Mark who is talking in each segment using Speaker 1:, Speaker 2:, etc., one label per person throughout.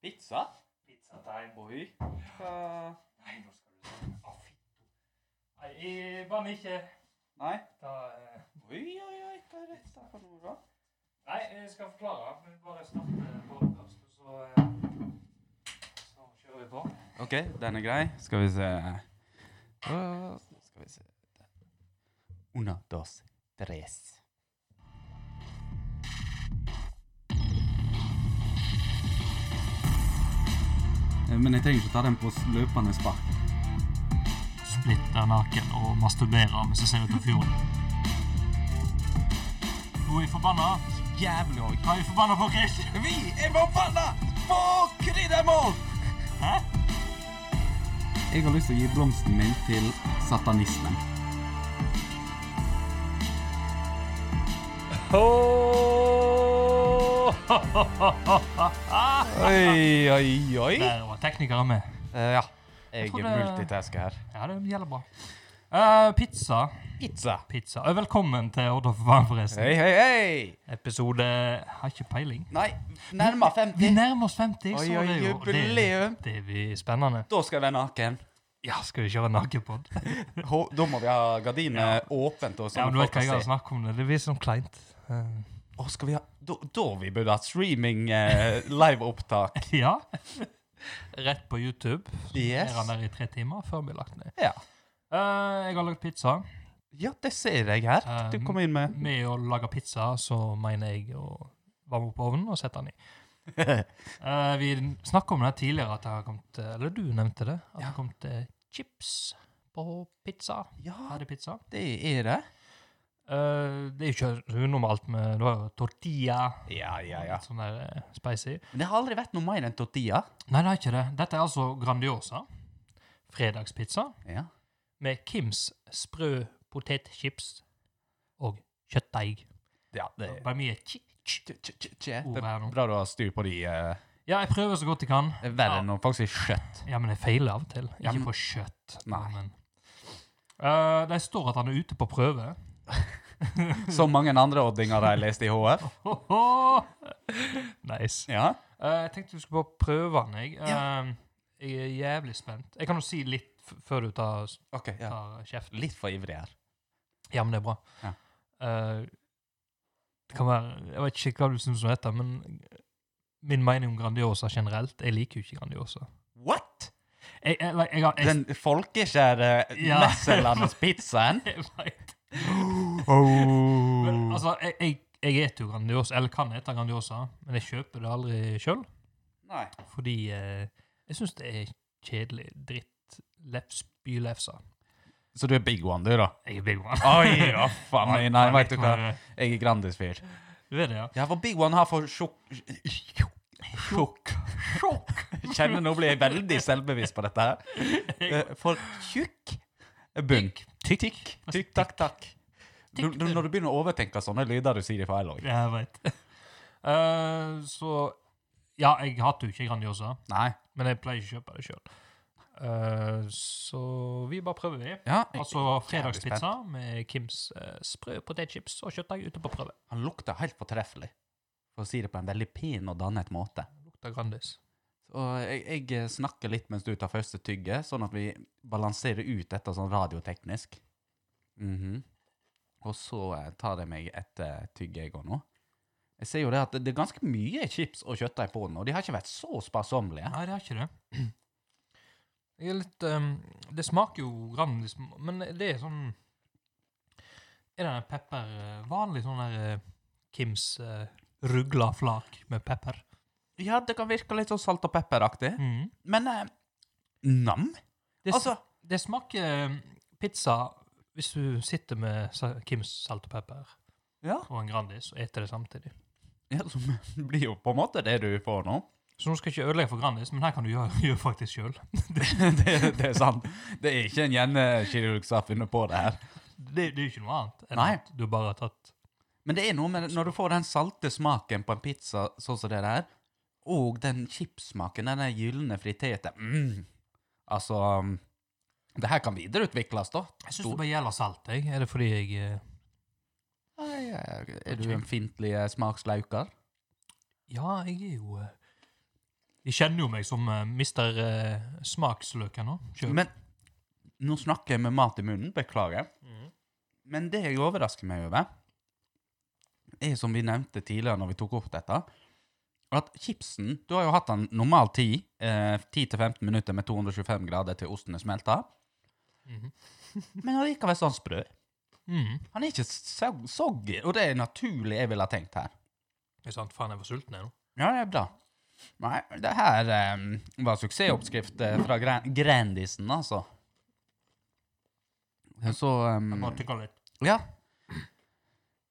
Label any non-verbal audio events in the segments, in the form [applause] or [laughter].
Speaker 1: Pizza?
Speaker 2: Pizzateig.
Speaker 1: Oi. Hva-
Speaker 2: Nei, nå skal du si ah, fitto. Nei, jeg banner ikke.
Speaker 1: Nei.
Speaker 2: Da, eh,
Speaker 1: Oi, oi, oi. Hva er dette for noe? da?
Speaker 2: nei, jeg skal forklare. Men bare starte på først, og så, eh, så kjører vi på.
Speaker 1: Ok, den er grei. Skal vi se Hva- Skal vi se Una, dos, tres. Eh, Men jeg trenger ikke ta den på løpende spark.
Speaker 2: Splitter naken og masturberer mens jeg ser ut på fjorden. Nå er jeg forbanna.
Speaker 1: Jævlig òg.
Speaker 2: Hva er jeg forbanna på, Chris?
Speaker 1: Vi er forbanna på kryddermål!
Speaker 2: Hæ?
Speaker 1: Jeg har lyst til å gi blomsten min til satanismen. Oi, oi, oi. Eh,
Speaker 2: Der var teknikeren med.
Speaker 1: ja. Jeg,
Speaker 2: tror
Speaker 1: er
Speaker 2: det-
Speaker 1: multitasker her.
Speaker 2: Ja, det gjelder bra. Eh, pizza.
Speaker 1: Pizza.
Speaker 2: Pizza. Eh, Velkommen til Odda for barn, forresten.
Speaker 1: Hei, hei, hei.
Speaker 2: Episode Har ikke peiling.
Speaker 1: Nei, nærmere
Speaker 2: Vi
Speaker 1: 50.
Speaker 2: nærmer oss 50,
Speaker 1: Oi,
Speaker 2: så
Speaker 1: oi,
Speaker 2: det er jo det,
Speaker 1: jubileum.
Speaker 2: det blir spennende.
Speaker 1: Da skal jeg være naken.
Speaker 2: Ja, skal vi kjøre nakenpod?
Speaker 1: Ho, da må vi ha gardinene åpent. Og sånn
Speaker 2: Ja, men du
Speaker 1: at
Speaker 2: vet hva jeg
Speaker 1: folk kan
Speaker 2: har
Speaker 1: se.
Speaker 2: snakket om det. Det blir sånn kleint. Eh,
Speaker 1: Å, skal vi ha Da, da vi burde hatt streaming eh, liveopptak.
Speaker 2: [laughs]
Speaker 1: [laughs]
Speaker 2: ja. [laughs] Rett på YouTube.
Speaker 1: Yes.
Speaker 2: Er han der i tre timer før vi blir lagt ned.
Speaker 1: Ja.
Speaker 2: Eh, jeg har lagd pizza.
Speaker 1: ja, det ser jeg her. Du kom inn med
Speaker 2: Med å lage pizza så mener jeg å varme opp ovnen og [laughs] sette den i. Eh, vi snakka om det her tidligere, at det har kommet, eh, eller du nevnte det, at det
Speaker 1: Ja.
Speaker 2: har kommet eh, chips på pizza.
Speaker 1: Ja,
Speaker 2: Ferdigpizza.
Speaker 1: det er det.
Speaker 2: Eh, det er jo ikke så unormalt med Du har jo tortilla.
Speaker 1: Ja, ja, ja.
Speaker 2: Litt sånn der eh, spicy.
Speaker 1: Men det har aldri vært noe mer enn tortilla.
Speaker 2: Nei, det er ikke det. Dette er altså Grandiosa. Fredagspizza
Speaker 1: Ja.
Speaker 2: med Kims sprø potetchips og kjøttdeig.
Speaker 1: ja det
Speaker 2: Bare mye chi- chi-
Speaker 1: Tje, tje, tje, tje.
Speaker 2: ord
Speaker 1: Det er
Speaker 2: her nå.
Speaker 1: bra du har styr på de. eh,
Speaker 2: Ja, jeg prøver så godt jeg kan.
Speaker 1: Det er verre enn når folk sier kjøtt.
Speaker 2: Ja, men jeg feiler av og til. Ikke
Speaker 1: Ja, men-
Speaker 2: på kjøtt.
Speaker 1: Nei.
Speaker 2: Men. Eh, det står at han er ute på prøve. [laughs]
Speaker 1: Som mange andre oddinger de leste i HF.
Speaker 2: Hoho! nice.
Speaker 1: [laughs] Ja.
Speaker 2: Eh, jeg tenkte vi skulle bare prøve den, jeg. Eh, jeg er jævlig spent. Jeg kan jo si litt f før du tar,
Speaker 1: Ok, ja.
Speaker 2: tar kjeften.
Speaker 1: Litt for ivrig her.
Speaker 2: Ja, men det er bra.
Speaker 1: Ja.
Speaker 2: Eh, det kan være Jeg vet ikke hva du syns om dette, men min mening om Grandiosa generelt Jeg liker jo ikke Grandiosa.
Speaker 1: What?!
Speaker 2: Jeg, jeg, jeg, har- jeg,
Speaker 1: Den folkekjære
Speaker 2: Ja.
Speaker 1: Messelandets pizzaen.
Speaker 2: [laughs] jeg, vet. Men,
Speaker 1: [laughs] Oh.
Speaker 2: altså, jeg, jeg, jeg eter jo Grandiosa, eller kan ete Grandiosa, men jeg kjøper det aldri sjøl.
Speaker 1: Nei.
Speaker 2: Fordi eh, jeg syns det er kjedelig dritt. Leps, bylefser.
Speaker 1: Så du er big one, du, da?
Speaker 2: Jeg er big one.
Speaker 1: Oi, hva faen? Ah, Nei, nei, vet du hva?
Speaker 2: det er?
Speaker 1: Jeg er Grandis-fyr.
Speaker 2: Du er det, ja.
Speaker 1: Ja, for Big One har for sjokk... Sjokk. Sjokk. Kjenner nå blir jeg veldig selvbevisst på dette her. [laughs] Eh, For tjukk bunn. Tykk, tykk, tykk, takk, takk. Du, du, når du begynner å overtenke sånne lyder, du sier det feil òg.
Speaker 2: Jeg veit. Eh, så Ja, jeg hater jo ikke Grandiosa,
Speaker 1: Nei.
Speaker 2: men jeg pleier ikke å kjøpe det sjøl. så vi bare prøver, vi.
Speaker 1: Ja, jeg,
Speaker 2: Altså fredagspizza med Kims eh, sprø potetchips og kjøttdeig ute på prøve.
Speaker 1: han lukter helt fortreffelig, for å si det på en veldig pen og dannet måte.
Speaker 2: Lukter Grandis.
Speaker 1: Og eh, jeg, jeg snakker litt mens du tar første tygge, sånn at vi balanserer ut dette sånn radioteknisk. Mhm. Og så eh, tar jeg meg et eh, tygge jeg går nå. Jeg ser jo det at det er ganske mye chips og kjøttdeig på den, og de har ikke vært så sparsommelige.
Speaker 2: Nei, det er ikke det. [clears throat] Jeg er litt eh, Det smaker jo Grandis, men det er sånn Er det den pepper eh, Vanlig sånn der eh, Kims uh, rugla flak med pepper.
Speaker 1: Ja, det kan virke litt sånn salt og pepperaktig,
Speaker 2: Mm.
Speaker 1: men eh, nam?
Speaker 2: Det, s-
Speaker 1: Altså,
Speaker 2: det smaker eh, pizza hvis du sitter med sa- Kims salt og pepper
Speaker 1: ja.
Speaker 2: og en Grandis og eter det samtidig.
Speaker 1: ja så [laughs] det blir jo på en måte det du får nå. [laughs]
Speaker 2: Så nå skal jeg ikke ødelegge for Grandis, men her kan du gjøre, [laughs] gjøre faktisk sjøl.
Speaker 1: det, det er sant. Det er ikke en hjernekirurg som har funnet på det her.
Speaker 2: Det, det er jo ikke noe annet enn
Speaker 1: Nei.
Speaker 2: at du bare har tatt
Speaker 1: Men det er noe med når du får den salte smaken på en pizza sånn som det der, og den chipsmaken, den der gylne friteten mm. Altså um, Det her kan videreutvikles, da.
Speaker 2: Jeg syns det bare gjelder salt, jeg. Er det fordi jeg eh,
Speaker 1: Ai, ai, Er du en fiendtlig eh, smakslauker?
Speaker 2: Ja, jeg er jo eh, De kjenner jo meg som uh, mister eh, smaksløken nå. Kjør.
Speaker 1: Men nå snakker jeg med mat i munnen, beklager. Men det jeg overrasker meg over, er som vi nevnte tidligere når vi tok opp dette, at chipsen Du har jo hatt den normal tid, eh, 10-15 minutter med 225 grader til osten er smelta.
Speaker 2: Mhm.
Speaker 1: Men allikevel sånn sprø.
Speaker 2: Mm.
Speaker 1: Han er ikke so- soggy, og det er naturlig jeg ville ha tenkt her.
Speaker 2: Det er sant, faen, jeg var sulten jeg nå.
Speaker 1: Ja, det er bra. Nei, det her eh, var suksessoppskrift eh, fra gran Grandisen, altså. Så
Speaker 2: Jeg
Speaker 1: eh,
Speaker 2: bare tygger litt.
Speaker 1: Ja.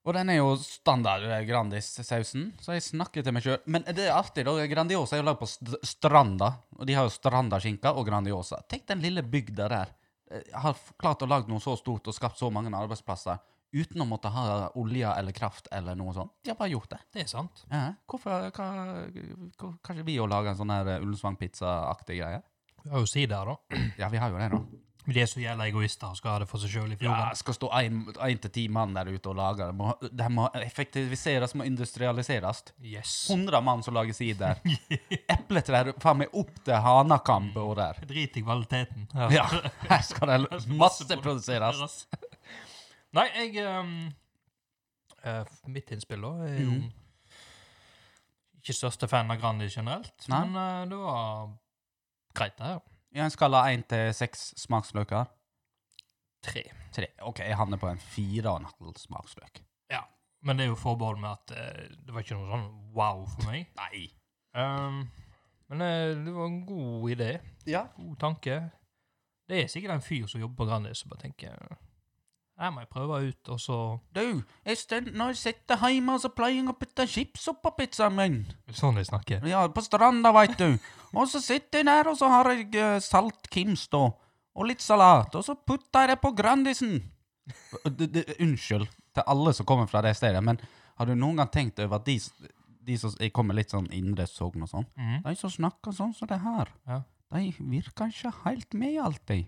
Speaker 1: Og den er jo standard eh, Grandis-sausen, så jeg snakker til meg sjøl. Men det er artig, da. Grandiosa er jo lagd på st Stranda, og de har jo Strandaskinka og Grandiosa. Tenk den lille bygda der. eh, Har f- klart å lage noe så stort og skapt så mange arbeidsplasser uten å måtte ha olje eller kraft eller noe sånt. De har bare gjort det.
Speaker 2: Det er sant.
Speaker 1: Ja, hvorfor hva, hva, Kanskje vi òg lager en sånn her eh, Ullensvang-pizza-aktig greie?
Speaker 2: Vi har jo si der, da.
Speaker 1: Ja, vi har jo det nå.
Speaker 2: De er så jævla egoister og skal ha det for seg sjøl i
Speaker 1: Ja,
Speaker 2: fjorden.
Speaker 1: skal stå én til ti mann der ute og lage det. Må, det må effektiviseres, må industrialiseres.
Speaker 2: Yes.
Speaker 1: 100 mann som lager [laughs] sider. Epletrær faen meg opp til hanakamboer der.
Speaker 2: Drit i kvaliteten.
Speaker 1: Ja, her skal det masseproduseres.
Speaker 2: Produseres. [laughs] Nei, jeg ehm, eh, Mitt innspill, da, er jo
Speaker 1: Mhm.
Speaker 2: ikke største fan av Grandi generelt,
Speaker 1: Nei.
Speaker 2: men eh, det var greit, det her.
Speaker 1: I en skala én til seks smaksløker.
Speaker 2: Tre.
Speaker 1: Tre. OK, jeg havner på en fire og en halv smaksløk.
Speaker 2: Men det er jo forbehold med at eh, det var ikke noe sånn wow for meg.
Speaker 1: Nei.
Speaker 2: Ehm, men eh, det var en god idé.
Speaker 1: Ja.
Speaker 2: God tanke. Det er sikkert en fyr som jobber på Grandi som bare tenker Her må jeg prøve ut, og så
Speaker 1: Du, jeg stend, når jeg sitter hjemme, så pleier jeg å putte chips oppå pizzaen min.
Speaker 2: Sånn de snakker.
Speaker 1: Ja, på stranda, veit du. Og så sitter jeg der, og så har jeg eh, salt kims, da. Og litt salat. Og så putter jeg det på Grandisen. D d unnskyld til alle som kommer fra det stedet, men har du noen gang tenkt over at de, s- de som s- jeg kommer litt sånn indre sogn og sånn,
Speaker 2: Mhm.
Speaker 1: de som snakker sånn som det her,
Speaker 2: Ja.
Speaker 1: de virker ikke helt med alltid.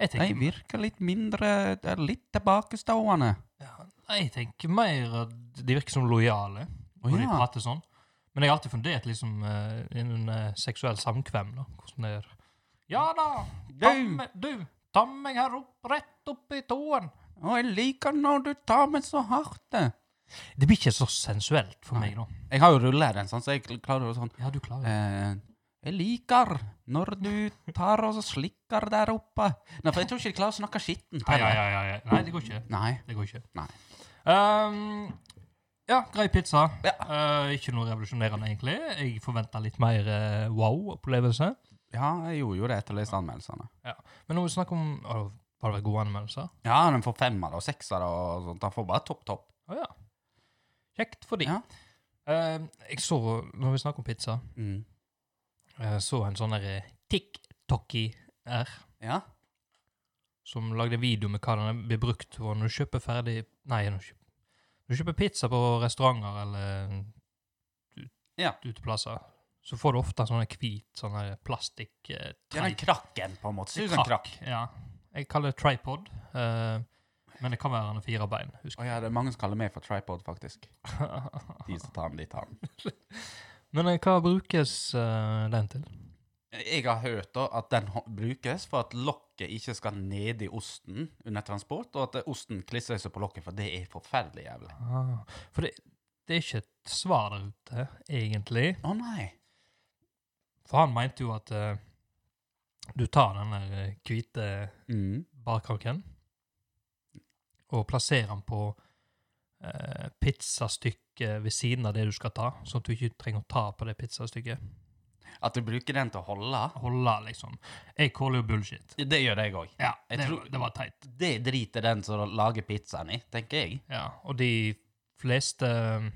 Speaker 2: Jeg
Speaker 1: De
Speaker 2: tenker,
Speaker 1: virker litt mindre, er litt tilbakestående.
Speaker 2: ja, jeg tenker mer at de virker som lojale når de
Speaker 1: ja.
Speaker 2: prater sånn. Men jeg har alltid fundert liksom eh, innen eh, seksuell samkvem, da. Hvordan det er. Ja da! Ta
Speaker 1: Du.
Speaker 2: meg, du! Ta meg her opp, rett opp i tåen!
Speaker 1: Og jeg liker når du tar meg så hardt. det.
Speaker 2: Det blir ikke så sensuelt for meg, da.
Speaker 1: Jeg har jo rulleren, sånn, så jeg klarer jo sånn
Speaker 2: Ja, du klarer det.
Speaker 1: Eh, jeg liker når du tar og slikker der oppe. Nei, for jeg tror ikke de klarer å snakke skitten.
Speaker 2: Nei,
Speaker 1: til
Speaker 2: Eh, ja,
Speaker 1: det.
Speaker 2: ja, ja, ja. Nei, det går ikke.
Speaker 1: Nei.
Speaker 2: Det går ikke.
Speaker 1: Nei.
Speaker 2: Ehm, ja, grei pizza.
Speaker 1: Ja.
Speaker 2: Eh, ikke noe revolusjonerende, egentlig. Jeg forventa litt mer eh, wow-opplevelse.
Speaker 1: Ja, jeg gjorde jo det etter å lese anmeldelsene.
Speaker 2: Men når vi snakker om å, Har det vært gode anmeldelser?
Speaker 1: Ja, den får femmere og seksere og sånt. Han får bare topp, topp.
Speaker 2: Å ja. Kjekt for de.
Speaker 1: Ja.
Speaker 2: Eh, jeg så, når vi snakker om pizza,
Speaker 1: Mm.
Speaker 2: jeg så en sånn derre TikToki-r
Speaker 1: Ja.
Speaker 2: som lagde video med hva den blir brukt til når du kjøper ferdig Nei, når du kjøper, når du kjøper pizza på restauranter eller eh, ut-
Speaker 1: Ja.
Speaker 2: uteplasser, så får du ofte sånn hvit sånn her plastikk eh,
Speaker 1: Det er den
Speaker 2: tri-
Speaker 1: krakken, på en måte. Ser ut som en krakk.
Speaker 2: Ja. Jeg kaller det tripod, eh, men det kan være en fire bein. Husk.
Speaker 1: Å ja, det er mange som kaller meg for tripod, faktisk. [laughs] De som tar den, de tar den.
Speaker 2: Men eh, hva brukes eh, den til?
Speaker 1: Jeg har hørt da at den ho- brukes for at lokket ikke skal ned i osten under transport, og at eh, osten klistrer seg på lokket, for det er forferdelig jævlig.
Speaker 2: Ah, for det, det er ikke et svar der ute, egentlig.
Speaker 1: Å nei.
Speaker 2: For han mente jo at eh, du tar den der eh, hvite
Speaker 1: Mm.
Speaker 2: barkaken og plasserer den på eh, pizzastykket ved siden av det du skal ta, sånn at du ikke trenger å ta på det pizzastykket.
Speaker 1: At du bruker den til å holde?
Speaker 2: Holde, liksom. Jeg caller jo bullshit.
Speaker 1: Det gjør jeg òg.
Speaker 2: Ja,
Speaker 1: jeg
Speaker 2: det,
Speaker 1: tror-
Speaker 2: var- det var teit.
Speaker 1: Det driter den som lager pizzaen i, tenker jeg.
Speaker 2: Ja, og de fleste eh,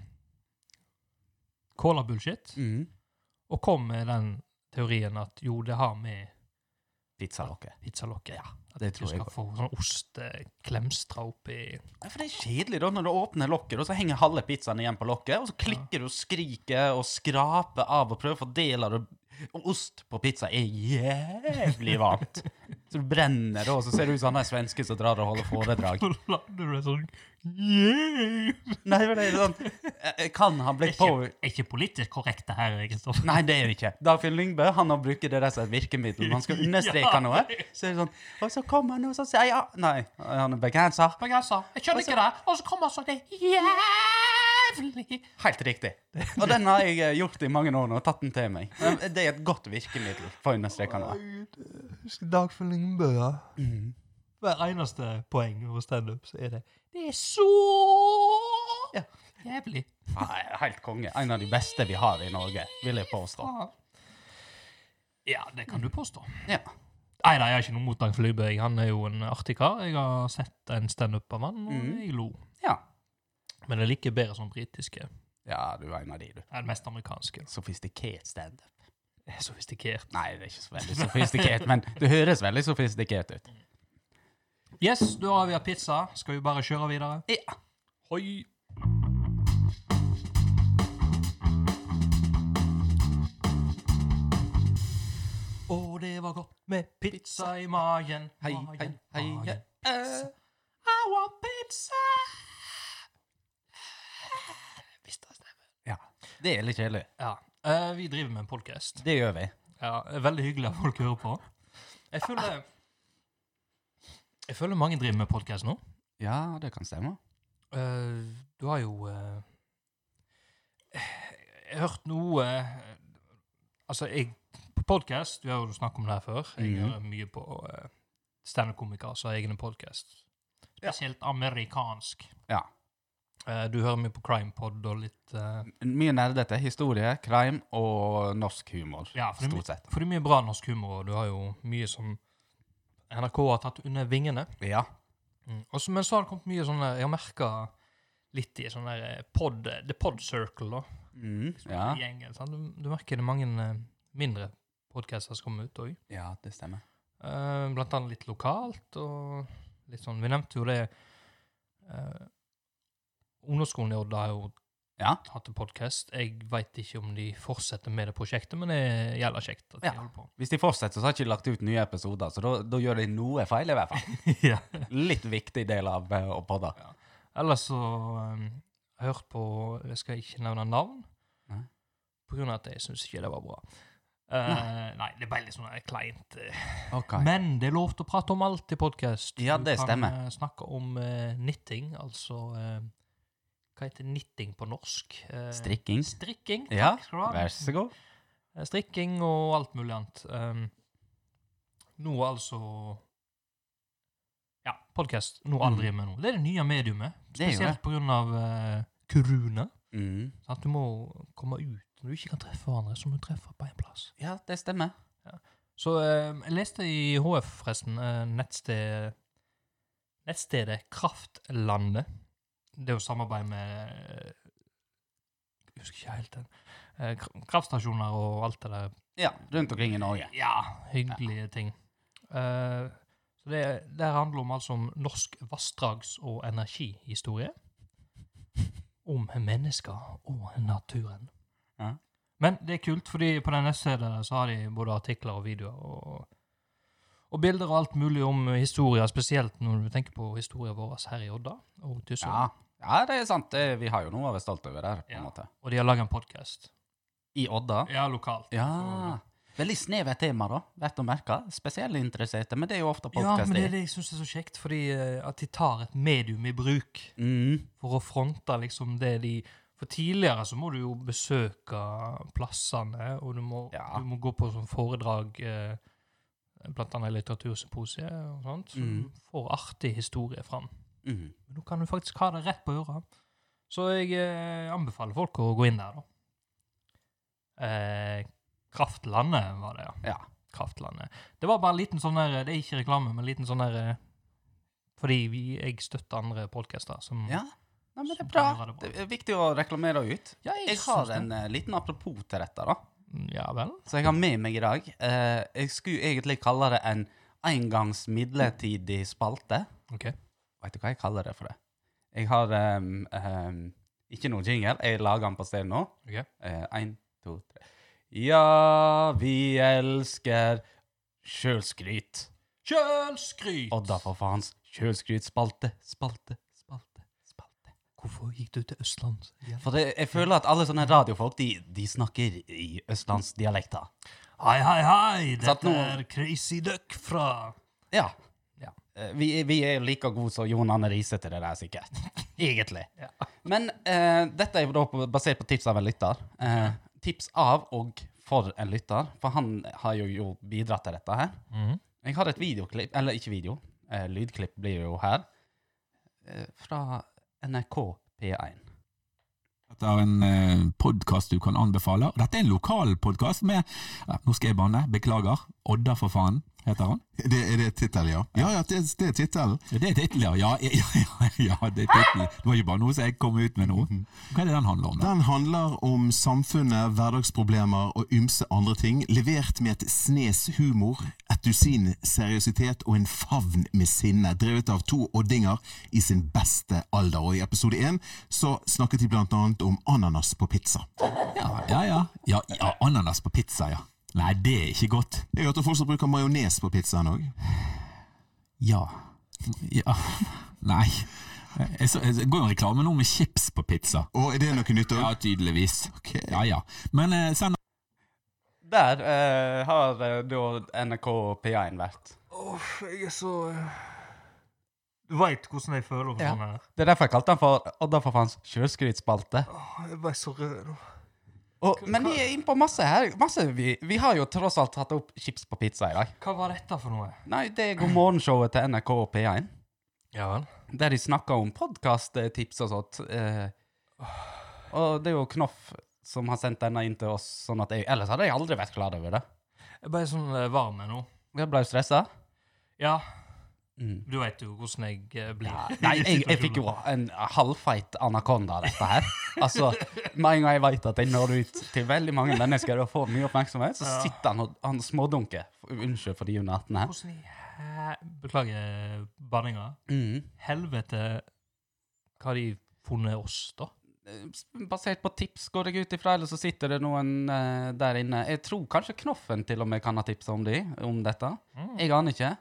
Speaker 2: caller bullshit. Og kom med den teorien at jo, det har med
Speaker 1: Pizzalokket.
Speaker 2: pizzalokket ja, At
Speaker 1: det
Speaker 2: du
Speaker 1: tror jeg
Speaker 2: skal
Speaker 1: også.
Speaker 2: få sånn ost eh, klemstra [laughs] oppi
Speaker 1: Ja, for det er kjedelig da, når du åpner lokket, og så henger halve pizzaen igjen på lokket, og så klikker du og skriker og skraper av og prøver å fordele det. Og ost på pizza er jævlig varmt. Så du brenner da, og så ser du ut som han der svenske som drar og holder foredrag.
Speaker 2: Så lander du sånn yeah!
Speaker 1: Nei, men det er sånn eh, Kan han bli på
Speaker 2: Er ikke politisk korrekt, det her, Kristoffer?
Speaker 1: Nei, det er det ikke. Dagfinn Lyngbø han har bruker det der som et virkemiddel. Når han
Speaker 2: [laughs]
Speaker 1: skal understreke
Speaker 2: Ja.
Speaker 1: noe, så er det sånn Og så kommer han og så sier ja. Nei, han er bergenser.
Speaker 2: Men jeg sa, jeg skjønner ikke det. Og så kommer sånn det jævlig
Speaker 1: Helt riktig. Og den har jeg eh, gjort i mange år nå. og Tatt den til meg. Men Det er et godt virkemiddel for å understreke noe.
Speaker 2: Husker Dagfinn Lyngbø, ja. Mhm. Hver eneste poeng over standup, så er det Det er så
Speaker 1: Ja.
Speaker 2: jævlig.
Speaker 1: Nei, Helt konge. En av de beste vi har i Norge, vil jeg påstå.
Speaker 2: faen. Ja, det kan du påstå.
Speaker 1: Ja.
Speaker 2: Nei, nei, jeg har ikke noe mot Dagfinn Lyngbø. jeg. Han er jo en artig kar. Jeg har sett en standup av han, og
Speaker 1: Mhm.
Speaker 2: jeg lo.
Speaker 1: Ja.
Speaker 2: Men jeg liker bedre som britiske.
Speaker 1: ja, du er en av de, du.
Speaker 2: Det er det mest amerikanske.
Speaker 1: Sofistikert standup.
Speaker 2: Det er Sofistikert.
Speaker 1: Nei, det er ikke så veldig sofistikert, men det høres veldig sofistikert ut.
Speaker 2: Yes, da har vi hatt pizza. Skal vi bare kjøre videre?
Speaker 1: Ja.
Speaker 2: Hoi! Å, det var godt med pizza i magen.
Speaker 1: Hei,
Speaker 2: magen,
Speaker 1: hei, hei.
Speaker 2: magen.
Speaker 1: ja. Eh,
Speaker 2: I want pizza! Hvis det stemmer.
Speaker 1: Ja. Det er litt kjedelig.
Speaker 2: Ja. eh, vi driver med en podkast.
Speaker 1: Det gjør vi.
Speaker 2: Ja, det er veldig hyggelig at folk hører på. Jeg føler Jeg føler mange driver med podkast nå.
Speaker 1: Ja, det kan stemme.
Speaker 2: Eh, du har jo eh, Jeg har hørt noe eh, Altså, jeg På podkast, vi har jo snakket om det her før, jeg
Speaker 1: Mhm.
Speaker 2: hører mye på uh, standup-komikere som har egne podkast. Spesielt amerikansk.
Speaker 1: Ja.
Speaker 2: Eh, du hører mye på Crimepod og litt eh,
Speaker 1: Mye nerdete. Historie, crime og norsk humor.
Speaker 2: Ja, for det, er mye-
Speaker 1: Stort sett.
Speaker 2: for det er mye bra norsk humor, og du har jo mye som NRK har tatt under vingene. Mm.
Speaker 1: Ja.
Speaker 2: Og så- men så har det kommet mye sånn der Jeg har merka litt i sånn der eh, pod, The Pod Circle, da.
Speaker 1: Mm,
Speaker 2: som
Speaker 1: ja.
Speaker 2: er Gjengen, sant? Du, du merker det er mange eh, mindre podcaster som kommer ut òg.
Speaker 1: ja, det stemmer.
Speaker 2: Eh, blant annet litt lokalt og litt sånn Vi nevnte jo det eh, Ungdomsskolen i Odda har jo
Speaker 1: Ja.
Speaker 2: hatt en podkast. Jeg veit ikke om de fortsetter med det prosjektet, men det gjelder kjekt at de
Speaker 1: Ja.
Speaker 2: holder på.
Speaker 1: Hvis de fortsetter, så har de ikke lagt ut nye episoder, så da da gjør de noe feil, i hvert fall. [laughs]
Speaker 2: ja.
Speaker 1: Litt viktig del av eh, å podde.
Speaker 2: Ellers så um, har jeg hørt på Jeg skal ikke nevne navn,
Speaker 1: Nei.
Speaker 2: på grunn av at jeg syns ikke det var bra. Eh, nei. det er bare litt sånn eh, kleint. eh.
Speaker 1: Ok.
Speaker 2: Men det er lov til å prate om alt i podkast.
Speaker 1: Ja, det stemmer.
Speaker 2: Du kan eh, snakke om eh, knitting, altså eh, Hva heter knitting på norsk? Eh,
Speaker 1: Strikking.
Speaker 2: Strikking. takk
Speaker 1: Ja,
Speaker 2: skal du ha.
Speaker 1: vær så god.
Speaker 2: Eh, Strikking og alt mulig annet. Um, nå altså Ja, podkast. Noe alle
Speaker 1: Mm.
Speaker 2: driver med nå. Det er det nye mediumet.
Speaker 1: Det er jo
Speaker 2: Spesielt pga. Uh, korona.
Speaker 1: Mm.
Speaker 2: Sant? Du må komme ut når du ikke kan treffe hverandre, som du treffer på én plass.
Speaker 1: Ja, det stemmer.
Speaker 2: Så eh, jeg leste i HF, forresten, eh, nettsted, nettstedet Kraftlandet. Det er jo samarbeid med eh, Jeg husker ikke helt den. eh, kra- Kraftstasjoner og alt det der
Speaker 1: Ja, rundt omkring i Norge.
Speaker 2: ja, hyggelige ting. Eh, så det, det her handler om altså om norsk vassdrags- og energihistorie. Om mennesker og naturen.
Speaker 1: Ja.
Speaker 2: Men det er kult, fordi på den nettsiden der så har de både artikler og videoer og, og bilder og alt mulig om historier, spesielt når du tenker på historien vår her i Odda og Tysvær.
Speaker 1: Ja. ja, det er sant. Det, vi har jo noe å være stolt over der, på en
Speaker 2: Ja.
Speaker 1: måte.
Speaker 2: Og de har laget en podkast.
Speaker 1: I Odda.
Speaker 2: Ja, lokalt.
Speaker 1: Ja. Veldig snevert tema, da. Verdt å merke. Spesielt interesserte, men det er jo ofte
Speaker 2: Ja, men
Speaker 1: podkast
Speaker 2: det er
Speaker 1: i.
Speaker 2: det jeg syns er så kjekt, fordi eh, at de tar et medium i bruk.
Speaker 1: Mm.
Speaker 2: for å fronte liksom det de For tidligere så må du jo besøke plassene, og du må,
Speaker 1: Ja.
Speaker 2: du må gå på sånn foredrag, eh, blant annet litteratursymposiet og sånt, så
Speaker 1: Mhm.
Speaker 2: du får artig historie fram.
Speaker 1: Mm.
Speaker 2: Men nå kan du faktisk ha det rett på øra. Så jeg eh, anbefaler folk å gå inn der, da. Eh, Kraftlandet var det, ja.
Speaker 1: Ja.
Speaker 2: Kraftlandet. Det var bare en liten sånn der, det er ikke reklame, men en liten sånn der eh, Fordi vi, jeg støtter andre podcaster som
Speaker 1: Ja. Nei, men det
Speaker 2: Som
Speaker 1: er bra.
Speaker 2: kan gjøre det bra.
Speaker 1: Det er viktig å reklamere ut.
Speaker 2: Ja,
Speaker 1: Jeg har en eh, liten apropos til dette, da.
Speaker 2: Mm, Ja vel.
Speaker 1: Så jeg har med meg i dag. Eh, jeg skulle egentlig kalle det en engangs midlertidig spalte.
Speaker 2: Ok.
Speaker 1: Vet du hva jeg kaller det for det? Jeg har em, em, ikke noe jingle. Jeg lager den på stedet nå.
Speaker 2: Ok.
Speaker 1: Eh, en, to, tre. Ja, vi elsker sjølskryt.
Speaker 2: Kjølskryt!
Speaker 1: Odda for faens kjølskrytspalte, spalte, spalte, spalte.
Speaker 2: Hvorfor gikk du til Østland? igjen?
Speaker 1: For det, jeg føler at alle sånne radiofolk, de, de snakker i østlandsdialekter.
Speaker 2: Hei, hei, hei!
Speaker 1: Satt
Speaker 2: Dette
Speaker 1: noe-
Speaker 2: er Crazy Duck fra
Speaker 1: Ja.
Speaker 2: Ja.
Speaker 1: Eh, Vi, vi er jo like gode som Jon Anne Riise til det der, sikkert. [laughs] Egentlig.
Speaker 2: Ja.
Speaker 1: Men eh, dette er jo da på, basert på tips av en lytter. Eh, tips av og for en lytter, for han har jo, jo bidratt til dette her.
Speaker 2: Mhm.
Speaker 1: Jeg har et videoklipp, eller ikke video, eh, lydklipp blir jo her, eh, fra NRK P1.
Speaker 3: Dette er en eh, podkast du kan anbefale. Og dette er en lokal podkast med ja, Nå skal jeg banne. Beklager. Odda, for faen, heter han.
Speaker 4: Det, er det tittelen, ja? Ja, ja, det, det er tittelen.
Speaker 3: Ja, Det er tittelen, ja. Ja, ja, ja, ja, det er tittelen. Det var ikke bare noe som jeg kom ut med nå. Hva er det den handler om? da?
Speaker 4: Den handler om samfunnet, hverdagsproblemer og ymse andre ting, levert med et snes humor, et dusin seriøsitet og en favn med sinne, drevet av to oddinger i sin beste alder. Og i episode én så snakket de blant annet om ananas på pizza.
Speaker 3: Ja, ja, ja. ja, ja Ah, ananas på pizza, ja. Nei, det er ikke godt.
Speaker 4: Jeg hørte folk som bruker majones på pizzaen òg.
Speaker 3: Ja. Ja. Nei. Jeg så, jeg går jo en reklame nå med chips på pizza.
Speaker 4: Og er det noe nytt òg?
Speaker 3: Ja, tydeligvis.
Speaker 4: Ok.
Speaker 3: Ja, ja. Men eh, send
Speaker 1: Der eh, har eh, da NRK P1 vært.
Speaker 2: Åh, jeg er så eh, Du veit hvordan jeg føler over
Speaker 1: Ja.
Speaker 2: sånne her.
Speaker 1: Det er derfor jeg kalte den for Odda for faens kjølskrytspalte.
Speaker 2: Åh, jeg ble så rød nå.
Speaker 1: Og, men vi er inne på masse her. Masse vi, vi har jo tross alt tatt opp chips på pizza i dag.
Speaker 2: Hva var dette for noe?
Speaker 1: Nei, det er God morgen-showet til NRK og P1,
Speaker 2: Ja vel?
Speaker 1: der de snakker om podkasttips og sånt. Eh, og det er jo Knoff som har sendt denne inn til oss, sånn at jeg, ellers hadde jeg aldri vært klar over det.
Speaker 2: Jeg ble sånn eh, varm jeg nå.
Speaker 1: Jeg ble stressa.
Speaker 2: Ja,
Speaker 1: Mm.
Speaker 2: du veit jo hvordan jeg eh, blir.
Speaker 1: Nei, jeg, jeg fikk jo en halvfeit anakonda av dette her. Altså, Med en gang jeg veit at jeg når ut til veldig mange mennesker og får mye oppmerksomhet, så
Speaker 2: Ja.
Speaker 1: sitter han og han smådunker. Unnskyld for de under 18
Speaker 2: [laughs]
Speaker 1: her.
Speaker 2: Hvordan i hæ... Beklager banninga.
Speaker 1: Mm.
Speaker 2: Helvete Hva har de funnet oss, da?
Speaker 1: Eh, Basert på tips, går jeg ut ifra, eller så sitter det noen eh, der inne. Jeg tror kanskje Knoffen til og med kan ha tipsa om de, om dette.
Speaker 2: Mm.
Speaker 1: Jeg aner ikke.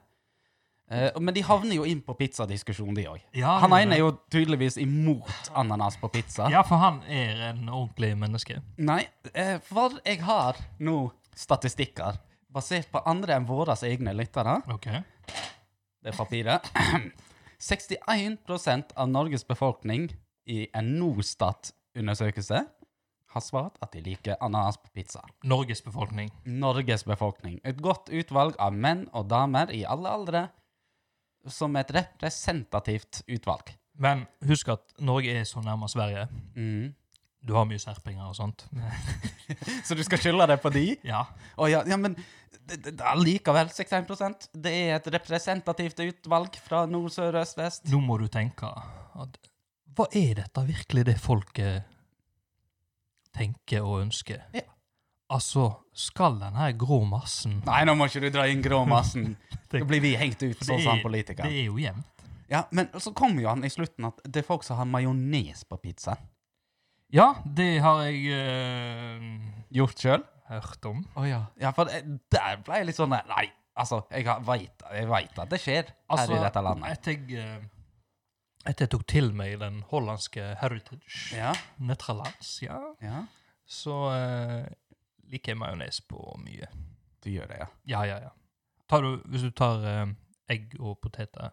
Speaker 1: Eh, men de havner jo inn på pizzadiskusjon, de òg.
Speaker 2: Ja,
Speaker 1: Han
Speaker 2: det-
Speaker 1: ene er jo tydeligvis imot ananas på pizza.
Speaker 2: Ja, for han er en ordentlig menneske.
Speaker 1: Nei, eh, for jeg har nå statistikker basert på andre enn våre egne lyttere.
Speaker 2: Ok.
Speaker 1: Det er papiret. [clears throat] 61 av Norges befolkning i en Norstat-undersøkelse har svart at de liker ananas på pizza.
Speaker 2: Norges befolkning.
Speaker 1: Norges befolkning. Et godt utvalg av menn og damer i alle aldre som et representativt utvalg.
Speaker 2: Men husk at Norge er så nærme Sverige.
Speaker 1: Mhm.
Speaker 2: Du har mye serpinger og sånt. [laughs]
Speaker 1: Så du skal skylde det på de?
Speaker 2: Ja.
Speaker 1: Å ja, ja, men det- det- det er likevel 61 Det er et representativt utvalg fra nord, sør, øst, vest.
Speaker 2: Nå må du tenke at Hva er dette virkelig det folket tenker og ønsker?
Speaker 1: Ja.
Speaker 2: Altså, skal den her grå massen
Speaker 1: Nei, nå må ikke du dra inn [laughs] gråmassen. Da blir vi hengt ut sånn som han
Speaker 2: Det
Speaker 1: politikeren.
Speaker 2: er jo jevnt.
Speaker 1: Ja, men så kommer jo han i slutten at det er folk som har majones på pizzaen.
Speaker 2: Ja, det har jeg eh,
Speaker 1: Gjort sjøl?
Speaker 2: hørt om.
Speaker 1: Å ja. ja. For eh, der ble jeg litt sånn eh, Nei, altså, jeg har- veit jeg vet at det skjer her i dette landet.
Speaker 2: Etter Altså, jeg, eh, etter jeg tok til meg den hollandske heritage
Speaker 1: Ja,
Speaker 2: Netherlands, ja,
Speaker 1: ja.
Speaker 2: så eh, liker jeg majones på mye.
Speaker 1: Du gjør det, ja.
Speaker 2: Ja, ja, ja. Tar du, hvis du tar eh, egg og poteter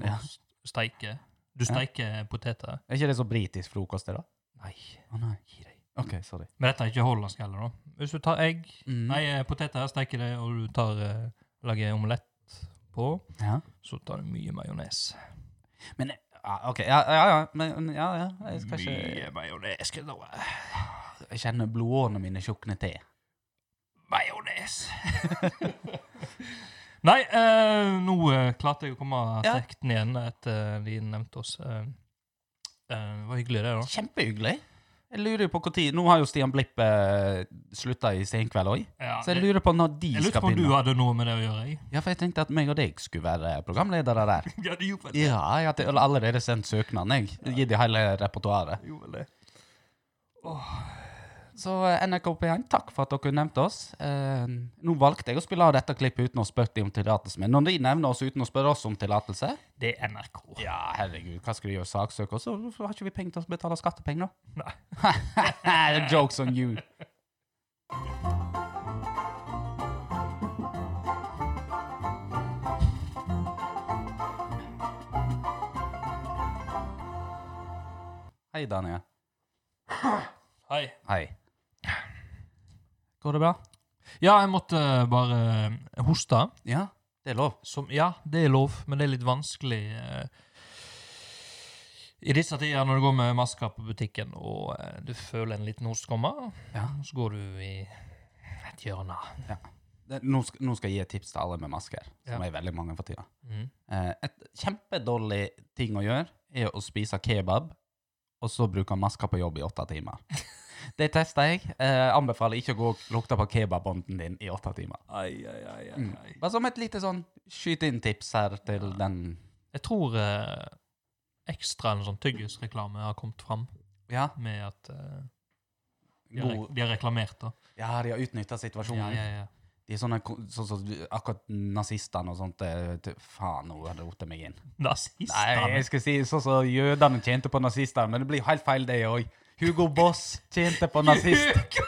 Speaker 2: og
Speaker 1: Ja.
Speaker 2: s- steiker Du
Speaker 1: Ja.
Speaker 2: steiker poteter?
Speaker 1: Er ikke det så britisk frokost, det, da?
Speaker 2: Nei,
Speaker 1: Å nei.
Speaker 2: gi deg.
Speaker 1: OK, sorry.
Speaker 2: Men dette er ikke hollandsk heller, da. Hvis du tar egg,
Speaker 1: Mm.
Speaker 2: nei, eh, poteter, steiker det, og du tar, eh, lager omelett på,
Speaker 1: Ja.
Speaker 2: så tar du mye majones.
Speaker 1: Men eh, ja, OK. Ja, ja, ja. Men, ja, ja. Jeg skal ikke
Speaker 2: Mye majones, skal du ha.
Speaker 1: Jeg kjenner blodårene mine tjukne til.
Speaker 2: Majones! [laughs] Nei, eh, nå eh, klarte jeg å komme av
Speaker 1: Ja.
Speaker 2: sekten igjen etter de nevnte oss. Eh, eh, det var hyggelig, det, da.
Speaker 1: Kjempehyggelig. Jeg lurer jo på når Nå har jo Stian Blipp eh, slutta i Senkveld òg,
Speaker 2: Ja,
Speaker 1: så jeg
Speaker 2: det-
Speaker 1: lurer på når de
Speaker 2: Jeg lurte
Speaker 1: skal
Speaker 2: på om du
Speaker 1: begynne.
Speaker 2: hadde noe med det å gjøre? Jeg.
Speaker 1: Ja, for jeg tenkte at meg og deg skulle være programledere der.
Speaker 2: [laughs] Ja, du gjorde vel det.
Speaker 1: Ja, jeg har til- allerede sendt søknaden, jeg. Gitt de hele repertoaret.
Speaker 2: Gjorde vel det. Åh,
Speaker 1: Så eh, NRK P1, takk for at dere nevnte oss. Eh, nå valgte jeg å spille av dette klippet uten å spørre de om tillatelse, men når de nevner oss uten å spørre oss om tillatelse
Speaker 2: Det er NRK.
Speaker 1: Ja, herregud, hva skal de gjøre? Saksøke oss? Så har ikke vi penger til å betale skattepenger, da?
Speaker 2: Nei.
Speaker 1: [laughs] Nei. Jokes on you. Hei, Daniel.
Speaker 2: Hei.
Speaker 1: Hei. Går det bra?
Speaker 2: Ja, jeg måtte eh, bare eh, hoste.
Speaker 1: Ja, det er lov.
Speaker 2: Som, ja, det er lov, men det er litt vanskelig eh, i disse tider når du går med masker på butikken og eh, du føler en liten host komme,
Speaker 1: Ja.
Speaker 2: og så går du i et hjørne.
Speaker 1: Det, nå, skal, nå skal jeg gi et tips til alle med masker, som
Speaker 2: Ja.
Speaker 1: er veldig mange for tida.
Speaker 2: Mhm.
Speaker 1: Eh, et kjempedårlig ting å gjøre er å spise kebab, og så bruke masker på jobb i åtte timer.
Speaker 2: [laughs]
Speaker 1: Det tester jeg. Eh, anbefaler ikke å gå og lukte på kebabbånden din i åtte timer. Mm.
Speaker 2: Ai, ai, ai, ai, ai.
Speaker 1: Bare som et lite sånn skyt-inn-tips her til den
Speaker 2: Jeg tror eh, ekstra en sånn tyggisreklame har kommet fram
Speaker 1: Ja,
Speaker 2: med at eh, de, har,
Speaker 1: god
Speaker 2: re- de har reklamert det.
Speaker 1: Ja, de har utnytta situasjonen.
Speaker 2: Ja, ja, ja.
Speaker 1: De er sånne, ko- sånn som akkurat nazistene og sånt. eh, til- Faen, nå roter jeg meg inn. Nei,
Speaker 2: Nazistene.
Speaker 1: jeg skal si sånn som jødene tjente på nazistene, men det blir helt feil, det òg. Hugo Boss tjente på nazist.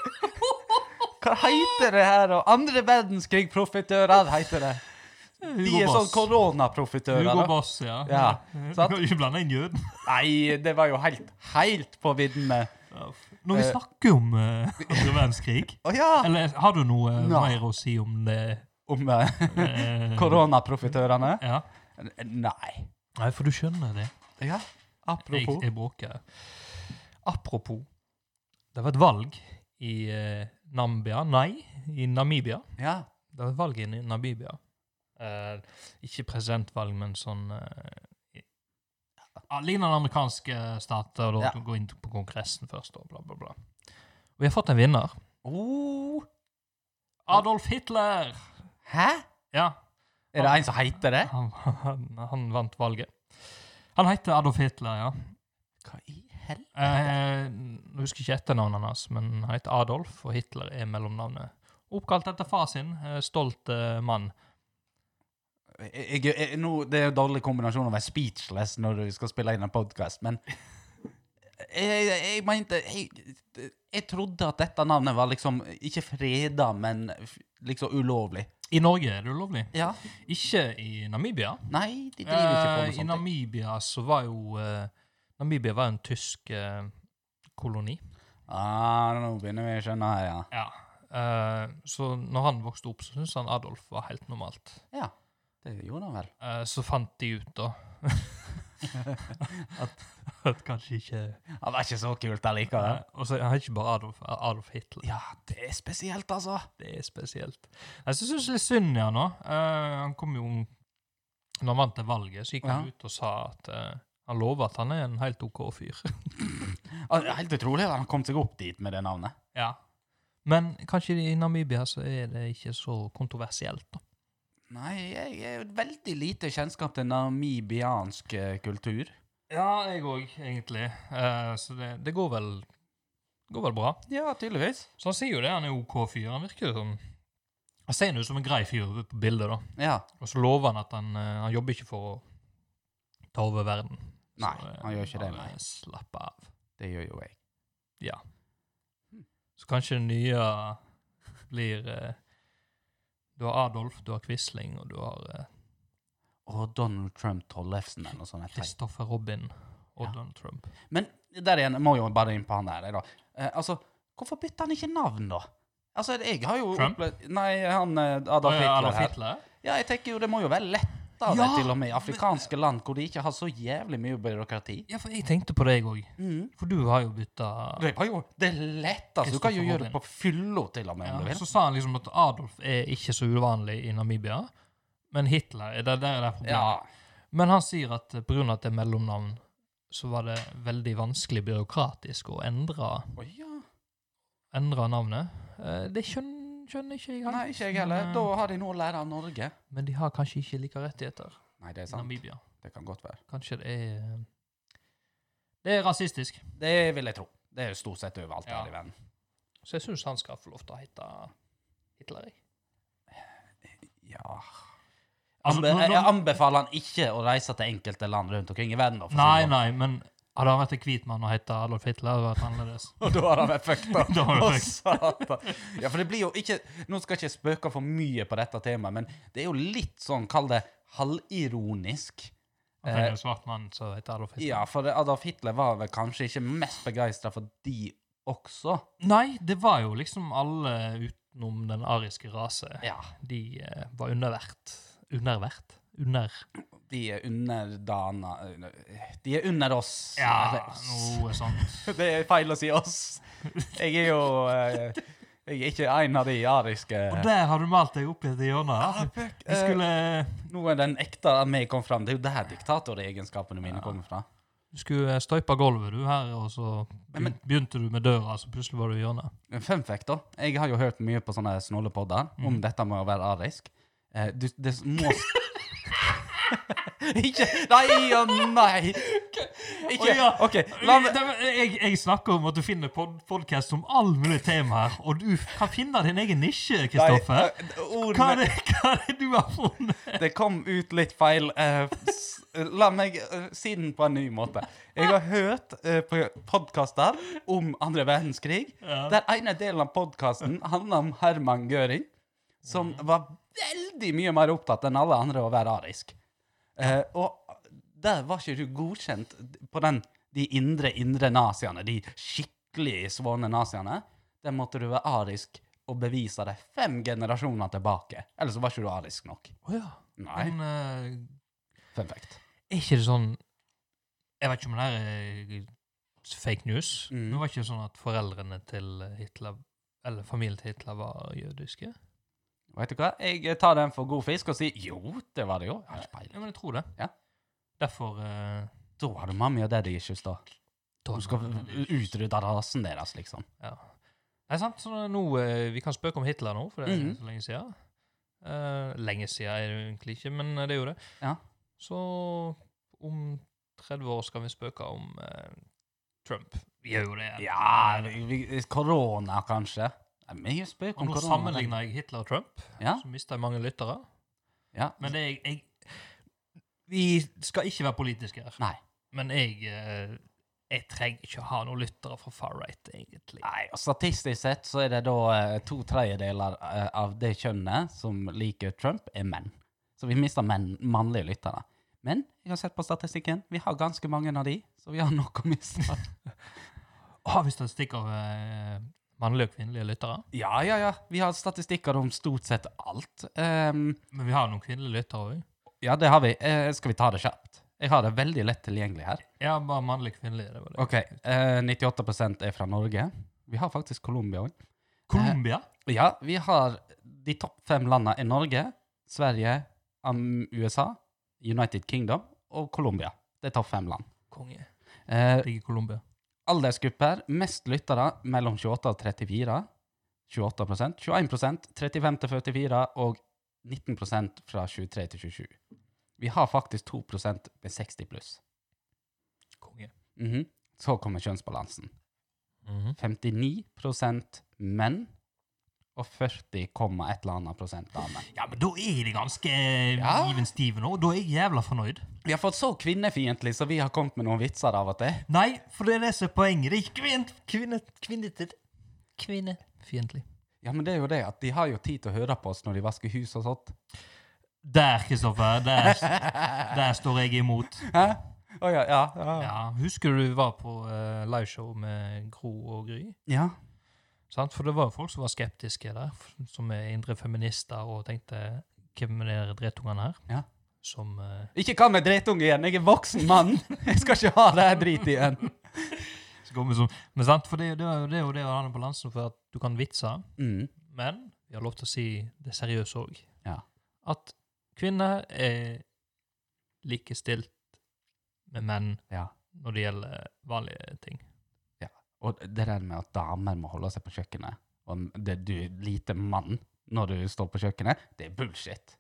Speaker 1: Hva heter det her? Og andre verdenskrig-profitører heter det. De er
Speaker 2: Hugo
Speaker 1: sånn
Speaker 2: Boss.
Speaker 1: koronaprofitører.
Speaker 2: Hugo
Speaker 1: da.
Speaker 2: Boss, ja.
Speaker 1: Ja,
Speaker 2: [laughs] Du
Speaker 1: sant?
Speaker 2: kan ikke blande inn jøden.
Speaker 1: Nei, det var jo helt, helt på viddene.
Speaker 2: Når vi
Speaker 1: Eh.
Speaker 2: snakker om eh, andre verdenskrig
Speaker 1: [laughs] Å ja!
Speaker 2: Eller har du noe eh,
Speaker 1: Nei.
Speaker 2: mer å si om det?
Speaker 1: [laughs] Om eh,
Speaker 2: eh,
Speaker 1: koronaprofitørene?
Speaker 2: Ja.
Speaker 1: Nei.
Speaker 2: Nei, for du skjønner det.
Speaker 1: Ja,
Speaker 2: Jeg,
Speaker 1: apropos.
Speaker 2: jeg bråker. Apropos. Det var et valg i eh, Nambia Nei, i Namibia.
Speaker 1: Ja.
Speaker 2: Det var et valg i Namibia. Eh, ikke presidentvalg, men sånn eh, ja, Ligner den amerikanske stater, og da
Speaker 1: Ja.
Speaker 2: gå inn på Kongressen først, og bla, bla, bla. Og vi har fått en vinner.
Speaker 1: Oh,
Speaker 2: Adolf Hitler!
Speaker 1: hæ?
Speaker 2: Ja,
Speaker 1: Er det en som heter det?
Speaker 2: han, han, han vant valget. Han heter Adolf Hitler, ja.
Speaker 1: Hva i helvete?
Speaker 2: Eh, jeg husker ikke etternavnet hans, men han heter Adolf, og Hitler er mellomnavnet. Oppkalt etter far sin. eh, Stolt eh, mann.
Speaker 1: jeg, jeg, jeg, nå, det er jo dårlig kombinasjon å være speechless når du skal spille inn en podkast, men jeg, jeg mente jeg, jeg trodde at dette navnet var liksom ikke freda, men f- liksom ulovlig.
Speaker 2: I Norge er det ulovlig.
Speaker 1: Ja.
Speaker 2: Ikke i Namibia.
Speaker 1: Nei, de driver ikke på
Speaker 2: Eh,
Speaker 1: med
Speaker 2: I
Speaker 1: sånt.
Speaker 2: Namibia så var jo eh, Namibia var en tysk eh, koloni.
Speaker 1: Ah, nå begynner vi å skjønne her, ja.
Speaker 2: Ja. Eh, så når han vokste opp, så syntes han Adolf var helt normalt.
Speaker 1: Ja, det gjorde han vel.
Speaker 2: Eh, så fant de ut, da [laughs] at, at kanskje ikke
Speaker 1: Det var ikke så kult allikevel.
Speaker 2: Eh, Og så er han ikke bare Adolf, eh, Adolf Hitler.
Speaker 1: Ja, det er spesielt, altså.
Speaker 2: Det er spesielt. Jeg syns det er litt synd i han òg. han kom jo Når han vant det valget, så gikk han
Speaker 1: Ja.
Speaker 2: ut og sa at eh, han lover at han er en helt OK fyr.
Speaker 1: Ah, det er Helt utrolig at han kom seg opp dit med det navnet.
Speaker 2: Ja. Men kanskje i Namibia så er det ikke så kontroversielt, da.
Speaker 1: Nei, jeg er veldig lite kjennskap til namibiansk eh, kultur.
Speaker 2: Ja, jeg òg, egentlig. Eh, så det, det går vel går vel bra.
Speaker 1: Ja, tydeligvis.
Speaker 2: Så han sier jo det, han er OK fyr. Han virker som Han ser jo ut som en grei fyr på bildet, da.
Speaker 1: Ja.
Speaker 2: Og så lover han at han, eh, han jobber ikke for å ta over verden.
Speaker 1: Nei,
Speaker 2: eh,
Speaker 1: han gjør ikke det,
Speaker 2: han,
Speaker 1: nei.
Speaker 2: eh, Slapp av.
Speaker 1: Det gjør jo jeg.
Speaker 2: Ja. Så kanskje det nye blir eh, Du har Adolf, du har Quisling, og du har eh,
Speaker 1: Og Donald Trump Tollefsen eller noe sånt. er teit.
Speaker 2: Christopher Robin og
Speaker 1: Ja.
Speaker 2: Donald Trump.
Speaker 1: Men der igjen, jeg må jo bare inn på han der. jeg Da. Eh, altså, hvorfor bytter han ikke navn, da? Altså, jeg har jo
Speaker 2: Trump?
Speaker 1: opplevd- Nei, han eh, Adolf Hitler, her.
Speaker 2: Hitler?
Speaker 1: Ja, jeg tenker jo det må jo være lettere
Speaker 2: Ja,
Speaker 1: til og med i afrikanske land hvor de ikke har så jævlig mye byråkrati.
Speaker 2: Ja, for jeg tenkte på deg òg.
Speaker 1: Mhm.
Speaker 2: For du har jo bytta
Speaker 1: Det var jo det letteste. Du kan jo
Speaker 2: Christopher
Speaker 1: gjøre det
Speaker 2: Robin.
Speaker 1: på fylla til og med, om du
Speaker 2: ja,
Speaker 1: vil.
Speaker 2: Så sa han liksom at Adolf er ikke så uvanlig i Namibia, men Hitler er det der er det problemet.
Speaker 1: Ja.
Speaker 2: Men han sier at pga. at det er mellomnavn, så var det veldig vanskelig byråkratisk å endre,
Speaker 1: Å, ja.
Speaker 2: endre navnet. Eh, Det skjønner, skjønner ikke jeg. helt.
Speaker 1: Nei, ikke jeg heller.
Speaker 2: Men,
Speaker 1: Da
Speaker 2: eh,
Speaker 1: har de noe å lære av Norge.
Speaker 2: Men de har kanskje ikke like rettigheter
Speaker 1: Nei, det er
Speaker 2: i
Speaker 1: sant.
Speaker 2: Namibia.
Speaker 1: Det kan godt være.
Speaker 2: Kanskje det er eh, Det er rasistisk.
Speaker 1: Det vil jeg tro. Det er jo stort sett overalt
Speaker 2: Ja.
Speaker 1: her i verden.
Speaker 2: Så jeg syns han skal få lov til å hete Hitler. jeg.
Speaker 1: Ja
Speaker 2: Altså,
Speaker 1: Anbe
Speaker 2: når- når-
Speaker 1: Jeg anbefaler han ikke å reise til enkelte land rundt omkring i verden. da, for å si det
Speaker 2: Nei,
Speaker 1: sånn.
Speaker 2: nei, men hadde han vært en hvit mann og hett Adolf Hitler, hadde det vært
Speaker 1: [laughs]
Speaker 2: annerledes.
Speaker 1: Og sånn. da har han vært fucked up.
Speaker 2: [laughs] Da har han
Speaker 1: Å,
Speaker 2: vært
Speaker 1: satan. Ja, for det blir jo ikke Nå skal jeg ikke spøke for mye på dette temaet, men det er jo litt sånn, kall det halvironisk.
Speaker 2: Han er en svart mann som heter Adolf Hitler.
Speaker 1: Ja, for Adolf Hitler var vel kanskje ikke mest begeistra for de også.
Speaker 2: Nei, det var jo liksom alle utenom den ariske rase.
Speaker 1: Ja.
Speaker 2: De eh, var undervert. Undervert? Under...
Speaker 1: De er underdana De er under oss. Eller oss.
Speaker 2: noe sånt.
Speaker 1: Det er feil å si oss. Jeg er jo eh, Jeg er ikke en av de ariske
Speaker 2: [laughs] Og der har du malt deg opp i et hjørne.
Speaker 1: Ah,
Speaker 2: da.
Speaker 1: fuck.
Speaker 2: Vi
Speaker 1: Eh,
Speaker 2: skulle,
Speaker 1: Nå er den ekte av meg kom fram. Det er jo der diktatoregenskapene mine kommer fra.
Speaker 2: du skulle støype gulvet, du, her, og så
Speaker 1: Men- men-
Speaker 2: begynte du med døra, så plutselig var du i hjørnet.
Speaker 1: En Fun fact, da. Jeg har jo hørt mye på sånne snålepodder
Speaker 2: Mm.
Speaker 1: om dette med å være arisk. Eh, du, det må s-
Speaker 2: [laughs]
Speaker 1: Ikke Nei og nei! Ikke
Speaker 2: Å ja.
Speaker 1: OK, la meg
Speaker 2: Eh, Jeg, jeg snakker om at du finner pod podkast om all mulig tema her, og du kan finne din egen nisje, Kristoffer.
Speaker 1: Nei, eh, ord
Speaker 2: Hva
Speaker 1: med-
Speaker 2: er det, hva er det du har funnet?
Speaker 1: Det kom ut litt feil. eh, s- la meg eh, si den på en ny måte. Jeg har hørt eh, på podkaster om andre verdenskrig,
Speaker 2: Ja.
Speaker 1: der ene delen av podkasten handler om Herman Göring, som var veldig mye mer opptatt enn alle andre av å være arisk. Eh, og der var ikke du godkjent på den, de indre, indre naziene, de skikkelig svåne naziene. Der måtte du være arisk og bevise det fem generasjoner tilbake. Ellers så var ikke du arisk nok.
Speaker 2: Oh, ja.
Speaker 1: Nei.
Speaker 2: Men eh,
Speaker 1: Mm. Fun fact.
Speaker 2: er ikke det sånn Jeg vet ikke om det her er fake news.
Speaker 1: Mm.
Speaker 2: Men det var ikke sånn at foreldrene til Hitler eller familien til Hitler var jødiske?
Speaker 1: Vet du hva? Jeg eh, tar den for god fisk og sier jo, det var det jo. Jeg har ikke
Speaker 2: Ja,
Speaker 1: peiling.
Speaker 2: men jeg tror det.
Speaker 1: Ja.
Speaker 2: Derfor eh,
Speaker 1: Da har du mamma og daddy issues, da.
Speaker 2: da-
Speaker 1: Du skal utrydde rasen deres, liksom.
Speaker 2: Ja. Nei, sant? Så nå, eh, vi kan spøke om Hitler nå, for det er
Speaker 1: Mhm.
Speaker 2: så lenge siden. Eh, lenge siden er det jo egentlig ikke, men eh, det er jo det.
Speaker 1: Ja.
Speaker 2: Så om 30 år skal vi spøke om eh, Trump. Vi gjør jo det.
Speaker 1: Ja, vi- korona, kanskje. Det er mye spøk
Speaker 2: Og
Speaker 1: om
Speaker 2: nå
Speaker 1: korona.
Speaker 2: sammenligner jeg Hitler og Trump,
Speaker 1: Ja.
Speaker 2: så mister jeg mange lyttere.
Speaker 1: Ja.
Speaker 2: Men det er jeg, jeg Vi skal ikke være politiske her.
Speaker 1: Nei.
Speaker 2: Men jeg, eh, jeg trenger ikke å ha noen lyttere fra far right, egentlig.
Speaker 1: Nei, og Statistisk sett så er det da eh, to tredjedeler eh, av det kjønnet som liker Trump, er menn. Så vi mister menn, mannlige lyttere. Men jeg har sett på statistikken, vi har ganske mange av de, så vi har nok å miste.
Speaker 2: Har vi statistikk av eh, mannlige og kvinnelige lyttere?
Speaker 1: Ja, ja, ja. Vi har statistikker om stort sett alt. Ehm,
Speaker 2: Men vi har noen kvinnelige lyttere òg.
Speaker 1: ja, det har vi. Eh, skal vi ta det kjapt? Jeg har det veldig lett tilgjengelig her.
Speaker 2: Ja, bare mannlige og kvinnelige. det var det.
Speaker 1: Ok, eh, 98 er fra Norge. Vi har faktisk Colombia òg.
Speaker 2: Colombia?
Speaker 1: Ja, vi har de topp fem landene er Norge, Sverige, Am- USA, United Kingdom og Colombia. Det er topp fem land.
Speaker 2: Konge.
Speaker 1: Eh,
Speaker 2: Ligger i Colombia.
Speaker 1: aldersgrupper, mest lyttere mellom 28 og 34, 28 21 35 til 44 og 19 fra 23 til 27. Vi har faktisk 2 med 60 pluss.
Speaker 2: Konge.
Speaker 1: Mhm. Så kommer kjønnsbalansen. Mhm. 59 menn og 40, komma et eller annet prosent damer.
Speaker 2: Ja, men da er det ganske eh,
Speaker 1: Ja.
Speaker 2: even stive nå. Da er jeg jævla fornøyd.
Speaker 1: Vi har fått så kvinnefiendtlig, så vi har kommet med noen vitser av og til.
Speaker 2: Nei, for det er det som er poenget. Det er ikke kvinn, kvinne... Kvinnefiendtlig. Kvinnefiendtlig.
Speaker 1: Ja, men det er jo det at de har jo tid til å høre på oss når de vasker hus og sånt.
Speaker 2: Der, Kristoffer. Der, [laughs] der står jeg imot.
Speaker 1: Hæ? Å ja, ja, ja.
Speaker 2: Ja, Husker du vi var på eh, liveshow med Gro og Gry?
Speaker 1: ja.
Speaker 2: Sant? For det var jo folk som var skeptiske der, f- som er indre feminister, og tenkte hvem er de drittungene her?
Speaker 1: Ja.
Speaker 2: Som eh,
Speaker 1: Ikke kall meg drittunge igjen, jeg er voksen mann. [laughs] Jeg skal ikke ha det her dritet igjen.
Speaker 2: skal komme som Men sant, for det, det, er jo- det er jo det å ha den balansen for at du kan vitse,
Speaker 1: Mm.
Speaker 2: men vi har lov til å si det seriøse òg.
Speaker 1: Ja.
Speaker 2: At kvinner er likestilt med menn
Speaker 1: Ja.
Speaker 2: når det gjelder vanlige ting.
Speaker 1: Og det der med at damer må holde seg på kjøkkenet, og det, du er lite mann når du står på kjøkkenet, det er bullshit.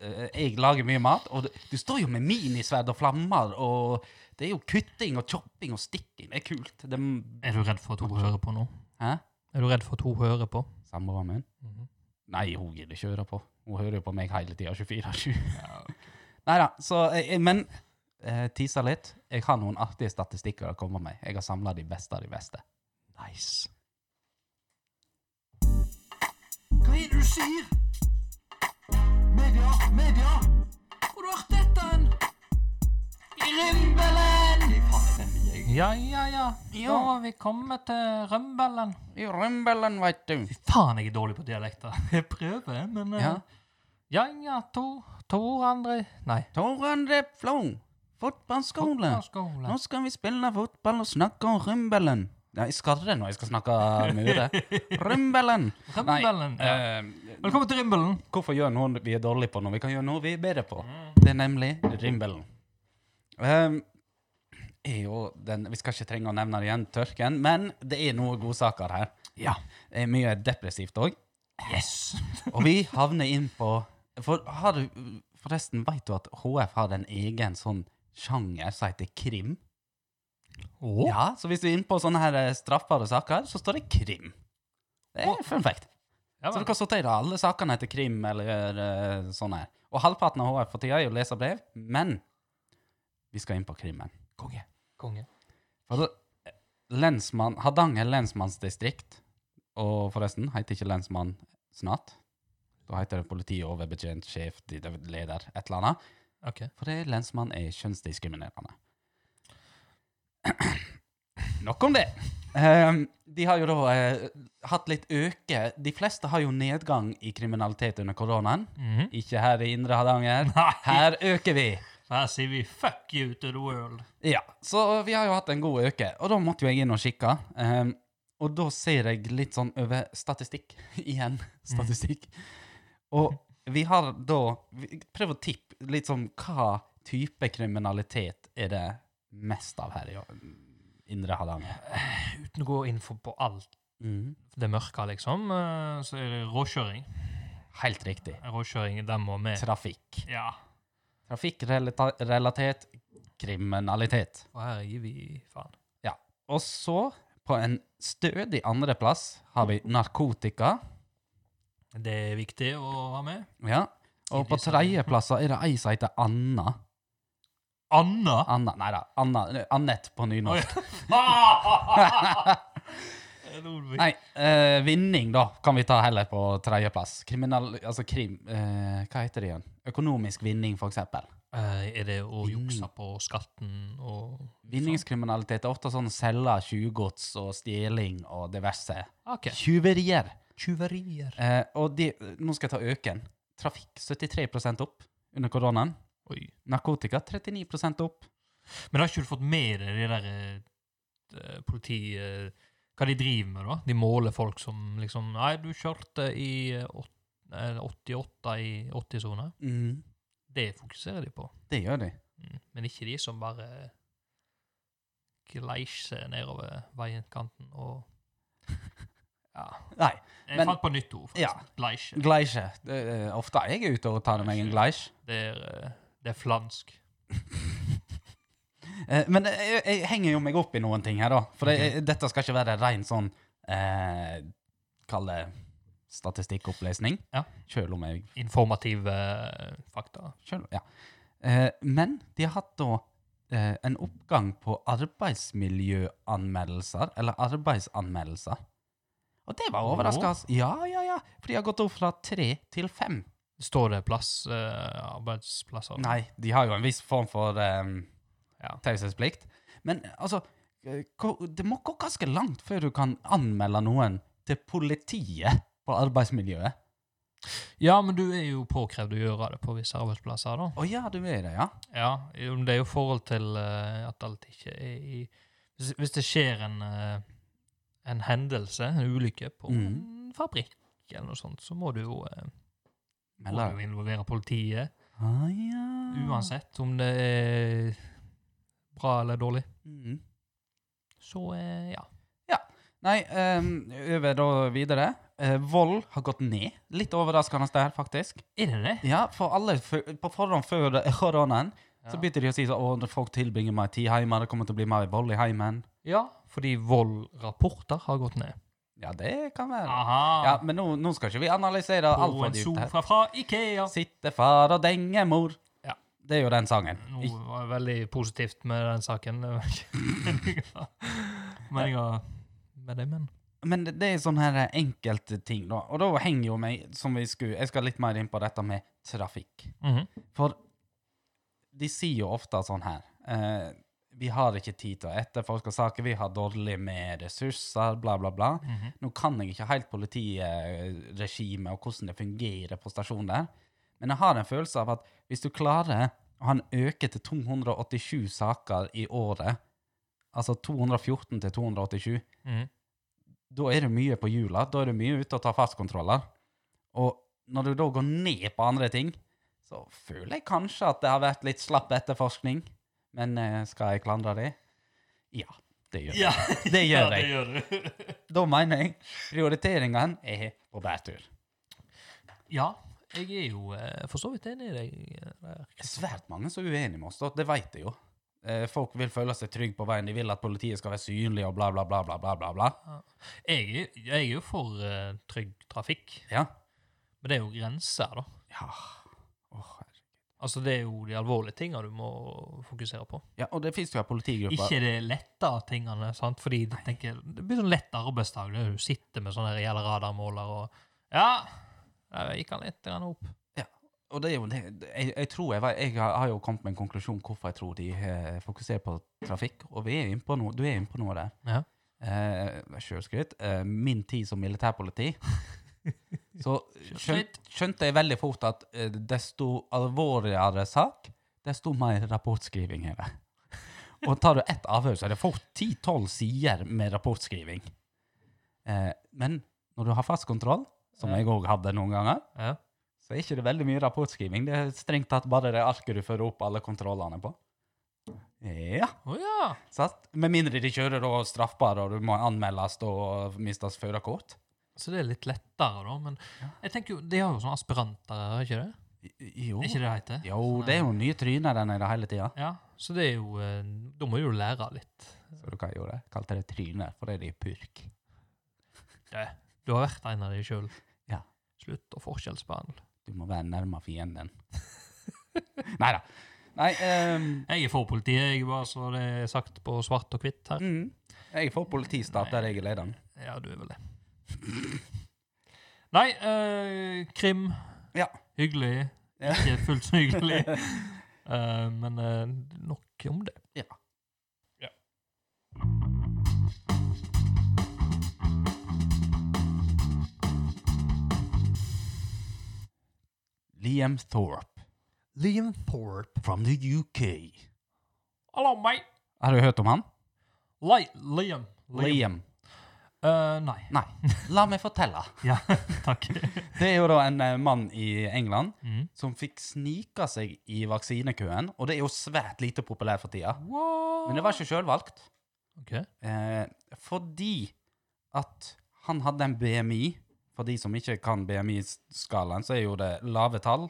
Speaker 1: Eh, Jeg lager mye mat, og du- du står jo med minisverd og flammer, og det er jo kutting og chopping og stikking. Det er kult. Det,
Speaker 2: Er du redd for at hun hører på nå?
Speaker 1: Hæ?
Speaker 2: Er du redd for at hun hører på?
Speaker 1: Samboeren min.
Speaker 2: Mhm.
Speaker 1: Nei, hun gidder ikke høre på. Hun hører jo på meg hele tida, 24-7. Nei da, så eh, eh, Men eh, tisa litt. Jeg har noen artige statistikker å komme med. Jeg har samla de beste av de beste.
Speaker 2: Nice.
Speaker 5: Hva er det du sier? Media, media! Hvor har du hørt dette hen? Grimbelen! Fy faen, den vil jeg.
Speaker 2: Ja, ja, ja. Da
Speaker 1: Ja.
Speaker 2: var vi kommet til rømbellen.
Speaker 1: I rømbelen, veit du.
Speaker 2: Fy faen, jeg er dårlig på dialekter. [laughs] Jeg prøver, men eh,
Speaker 1: Ja.
Speaker 2: ja, ja. Tor, Tor André Nei.
Speaker 1: Tor André Flo, fotballskole. Nå
Speaker 2: Skole.
Speaker 1: skal vi spille fotball og snakke om rømbelen. Ja, jeg skarrer når jeg skal
Speaker 2: [laughs]
Speaker 1: snakke mure. Rømbelen. Nei,
Speaker 2: Rømbellen. Ja.
Speaker 1: eh,
Speaker 2: Velkommen til Rimbelen.
Speaker 1: Hvorfor gjør noe vi er dårlige på når vi kan gjøre noe vi er bedre på?
Speaker 2: Mm.
Speaker 1: Det er nemlig rimbelen. Um, er jo den, vi skal ikke trenge å nevne det igjen, tørken, men det er noen godsaker her.
Speaker 2: Ja.
Speaker 1: Det er mye depressivt òg.
Speaker 2: Yes.
Speaker 1: Og vi havner inn på for har du, Forresten, veit du at HF har en egen sånn sjanger som heter krim?
Speaker 2: Å,
Speaker 1: Ja, Så hvis du er inne på sånne her eh, straffbare saker, så står det krim. Det er fun fact.
Speaker 2: ja,
Speaker 1: Så du
Speaker 2: vel.
Speaker 1: kan sortere alle sakene etter krim eller eh, sånn her. Og halvparten av HF for tida er jo leserbrev, men vi skal inn på krimmen.
Speaker 2: Konge. Konge.
Speaker 1: For eh, lensmann, Hardanger lensmannsdistrikt, og forresten heter ikke lensmann snart. Da heter det politi, overbetjent, sjef, de- de- leder, et eller annet.
Speaker 2: OK.
Speaker 1: For det lensmann er kjønnsdiskriminerende. [clears throat] Nok om det. Ehm, de har jo da eh, hatt litt øke De fleste har jo nedgang i kriminalitet under koronaen.
Speaker 2: Mhm.
Speaker 1: Ikke her i Indre Hardanger.
Speaker 2: Nei.
Speaker 1: Her øker vi.
Speaker 2: Her sier vi 'fuck you to the world'.
Speaker 1: Ja, så vi har jo hatt en god øke, og da måtte jo jeg inn og kikke. Ehm, og da ser jeg litt sånn over statistikk [laughs] igjen. Statistikk. Og vi har da vi- Prøv å tippe litt sånn hva type kriminalitet er det mest av her i Indre Hardanger.
Speaker 2: Uten å gå inn for på alt
Speaker 1: Mhm.
Speaker 2: det mørke, liksom, eh, så er det råkjøring.
Speaker 1: Helt riktig.
Speaker 2: Råkjøring, den må med.
Speaker 1: Trafikk.
Speaker 2: Ja.
Speaker 1: Trafikkrelatert kriminalitet.
Speaker 2: Og her gir vi faen.
Speaker 1: Og så, på en stødig andreplass, har vi narkotika.
Speaker 2: Det er viktig å ha med.
Speaker 1: Ja. Og på
Speaker 2: Tidlig sommer.
Speaker 1: tredjeplasser er det ei som heter Anna.
Speaker 2: Anna? [laughs]
Speaker 1: Anna, Nei da, Anna, Annette på
Speaker 2: Oi.
Speaker 1: nynorsk.
Speaker 2: Ludvig.
Speaker 1: [laughs] Nei, eh, vinning, da, kan vi ta heller på tredjeplass. Kriminal... Altså krim... eh, hva heter det igjen? Økonomisk vinning, for eksempel.
Speaker 2: Eh, er det å jukse på skatten og
Speaker 1: Vinningskriminalitet er ofte sånn selge tjuvgods og stjeling og diverse.
Speaker 2: OK.
Speaker 1: Tjuverier.
Speaker 2: Tjuverier.
Speaker 1: Eh, og de, nå skal jeg ta øken. Trafikk 73 opp under koronaen.
Speaker 2: Oi.
Speaker 1: Narkotika 39 opp.
Speaker 2: Men har ikke du fått med deg det der eh, politi... eh, hva de driver med, da? De måler folk som liksom Nei, du kjørte i eh, åt- eh, 88 i 80-sona.
Speaker 1: Mm,
Speaker 2: Det fokuserer de på.
Speaker 1: det gjør de.
Speaker 2: Mm. Men ikke de som bare gleiser nedover veikanten og [laughs] Ja.
Speaker 1: Nei.
Speaker 2: Jeg
Speaker 1: Men-
Speaker 2: fant på nytt ord,
Speaker 1: Ja.
Speaker 2: forresten. Gleisje.
Speaker 1: Gleisje. Det er ofte jeg er ute og tar meg en gleisj.
Speaker 2: Det er, eh, det er flansk.
Speaker 1: Eh, men jeg, jeg henger jo meg opp i noen ting her, da. For jeg, dette skal ikke være ren sånn eh, Kall det statistikkopplesning.
Speaker 2: Ja.
Speaker 1: Sjøl om jeg
Speaker 2: Informative eh, fakta.
Speaker 1: sjøl, ja. eh, Men de har hatt da eh, en oppgang på arbeidsmiljøanmeldelser, eller arbeidsanmeldelser. Og det var overraskende. Ja, ja, ja. For de har gått opp fra tre til fem.
Speaker 2: Står det plass, eh, arbeidsplasser?
Speaker 1: Nei, de har jo en viss form for eh,
Speaker 2: Ja.
Speaker 1: taushetsplikt. Men altså, eh, hva- det må gå ganske langt før du kan anmelde noen til politiet på arbeidsmiljøet.
Speaker 2: Ja, men du er jo påkrevd å gjøre det på visse arbeidsplasser, da.
Speaker 1: Å ja, du er det, ja?
Speaker 2: Ja, jo, men det er jo forhold til eh, at alt ikke er i Hvis, hvis det skjer en, eh, en hendelse, en ulykke, på en fabrikk eller noe sånt, så må du jo, eh, må
Speaker 1: Melder.
Speaker 2: du jo involvere politiet.
Speaker 1: Ah, ja.
Speaker 2: Uansett om det er bra eller dårlig.
Speaker 1: Mhm.
Speaker 2: Så eh, ja.
Speaker 1: Nei, ehm, over da videre. Eh, vold har gått ned. Litt overraskende der, faktisk.
Speaker 2: Er det det?
Speaker 1: Ja, for alle fø- på forhånd før [laughs] koronaen så
Speaker 2: Ja.
Speaker 1: begynte de å si sånn Å, når folk tilbringer mer tid hjemme, det kommer til å bli mer vold i heimen.
Speaker 2: Ja, fordi voldrapporter har gått ned.
Speaker 1: Ja, det kan
Speaker 2: Ah,
Speaker 1: være. Ja,
Speaker 2: Aha.
Speaker 1: Men nå, nå skal ikke vi analysere alt
Speaker 2: og
Speaker 1: for
Speaker 2: en
Speaker 1: dypt her.
Speaker 2: sofa fra Ikea.
Speaker 1: Sitte far og denge mor.
Speaker 2: Ja.
Speaker 1: Det er jo den sangen.
Speaker 2: Nå
Speaker 1: Ik-
Speaker 2: var det veldig positivt med den saken. Det var [laughs] ikke Meninga med det, men
Speaker 1: Men det, det er sånne her enkelte ting, da. Og da henger jo meg som vi skulle Jeg skal litt mer inn på dette med trafikk.
Speaker 2: Mhm.
Speaker 1: For de sier jo ofte sånn her eh, Vi har ikke tid til å etterforske saker, vi har dårlig med ressurser, bla, bla, bla.
Speaker 2: Mhm.
Speaker 1: Nå kan jeg ikke helt politiregimet og hvordan det fungerer på stasjonen der, men jeg har en følelse av at hvis du klarer å ha en øke til 287 saker i året, altså 214 til 287,
Speaker 2: Mhm.
Speaker 1: da er det mye på hjula, da er det mye ute og tar fastkontroller. Og når du da går ned på andre ting, så føler jeg kanskje at det har vært litt slapp etterforskning. Men eh, skal jeg klandre det? Ja, det gjør jeg.
Speaker 2: Ja,
Speaker 1: Det gjør
Speaker 2: [laughs] ja,
Speaker 1: jeg.
Speaker 2: det gjør du.
Speaker 1: Da mener jeg prioriteringene er på bærtur.
Speaker 2: Ja, jeg er jo eh, for så vidt enig i deg. eh, der.
Speaker 1: Det er svært mange som er uenige med oss, da. det vet jeg jo. Eh, Folk vil føle seg trygge på veien, de vil at politiet skal være synlig og bla, bla, bla, bla, bla, bla, bla.
Speaker 2: Jeg, er- jeg er jo for eh, trygg trafikk,
Speaker 1: Ja.
Speaker 2: men det er jo grenser, da.
Speaker 1: Ja. Åh, herre.
Speaker 2: Altså, Det er jo de alvorlige tinga du må fokusere på.
Speaker 1: ja, og det finnes jo en politigruppa.
Speaker 2: Ikke de lette tingene, sant? fordi jeg tenker, det blir sånn lett arbeidsdag. det er jo Du sitter med sånne reelle radarmåler og Ja, der gikk han litt grann opp.
Speaker 1: Og det er jo det, jeg, jeg tror jeg, var- jeg har har jo kommet med en konklusjon hvorfor jeg tror de eh, fokuserer på trafikk, og vi er inne på noe, du er inne på noe der.
Speaker 2: Ja.
Speaker 1: Eh, Sjølskryt. Eh, min tid som militærpoliti. Så skjønt, skjønte jeg veldig fort at eh, desto alvorligere sak, desto mer rapportskriving er det. Og tar du ett avhør, så er det fort 10-12 sider med rapportskriving. Eh, men når du har fast kontroll, som
Speaker 2: Ja.
Speaker 1: jeg òg hadde noen ganger,
Speaker 2: Ja.
Speaker 1: så er ikke det veldig mye rapportskriving. Det er strengt tatt bare det arket du fører opp alle kontrollene på. Ja.
Speaker 2: Å ja!
Speaker 1: Sant? Med mindre de kjører da straffbare, og du må anmeldes da og mistes førerkort.
Speaker 2: Så det er litt lettere, da. Men jeg tenker jo, de har jo sånne aspiranter, er det ikke det?
Speaker 1: I- Jo.
Speaker 2: Er ikke det det heter?
Speaker 1: jo, det er jo nye tryner den er det hele tida.
Speaker 2: Ja, så det er jo eh, Da må du jo lære litt.
Speaker 1: Så du kan jo det. Kalte det tryner, for det er de purk.
Speaker 2: Det. Du har vært en av de sjøl.
Speaker 1: Ja.
Speaker 2: Slutt å forskjellsbehandle.
Speaker 1: Du må være nærmere [laughs] fienden. Neida. Nei ehm, da. Nei
Speaker 2: Jeg er for politiet, jeg, bare så det er sagt på svart og hvitt her.
Speaker 1: mm, Jeg får politistat der jeg er lederen.
Speaker 2: Ja, du er vel det. Nei, eh, krim.
Speaker 1: Ja.
Speaker 2: Hyggelig.
Speaker 1: Ja.
Speaker 2: Ikke fullt så hyggelig. [laughs]
Speaker 1: [laughs]
Speaker 2: Eh, men eh, nok om det.
Speaker 1: Ja.
Speaker 2: Ja.
Speaker 1: Liam Thorpe
Speaker 2: Liam Thorpe.
Speaker 1: from the UK.
Speaker 2: Hallo, mate.
Speaker 1: Har du hørt om han?
Speaker 2: Li Liam.
Speaker 1: Liam.
Speaker 2: Eh, nei.
Speaker 1: Nei, la meg fortelle.
Speaker 2: Ja, [laughs] takk.
Speaker 1: Det er jo da en eh, mann i England
Speaker 2: Mm.
Speaker 1: som fikk snika seg i vaksinekøen, og det er jo svært lite populært for tida. Men det var ikke sjølvalgt.
Speaker 2: Ok.
Speaker 1: Eh, fordi at han hadde en BMI. For de som ikke kan BMI-skalaen, så er jo det lave tall.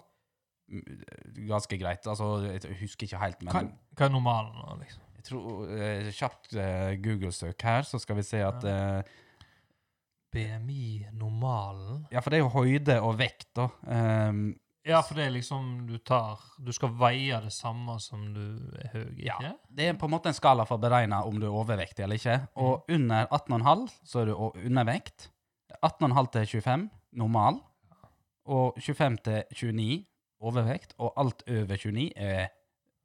Speaker 1: Mm, Ganske greit. Altså, jeg husker ikke helt, men
Speaker 2: Hva, hva er normalen nå, liksom?
Speaker 1: jeg tror, eh, Kjapt eh, Google-søk her, så skal vi se at eh,
Speaker 2: BMI-normalen?
Speaker 1: Ja, for det er jo høyde og vekt, da. Um,
Speaker 2: Ja, for det er liksom du tar Du skal veie det samme som du er høy, ikke?
Speaker 1: Ja. Det er på en måte en skala for å beregne om du er overvektig eller ikke. Og under 18,5 så er du o- undervekt. 18,5 til 25 normal. Og 25 til 29 overvekt. Og alt over 29 er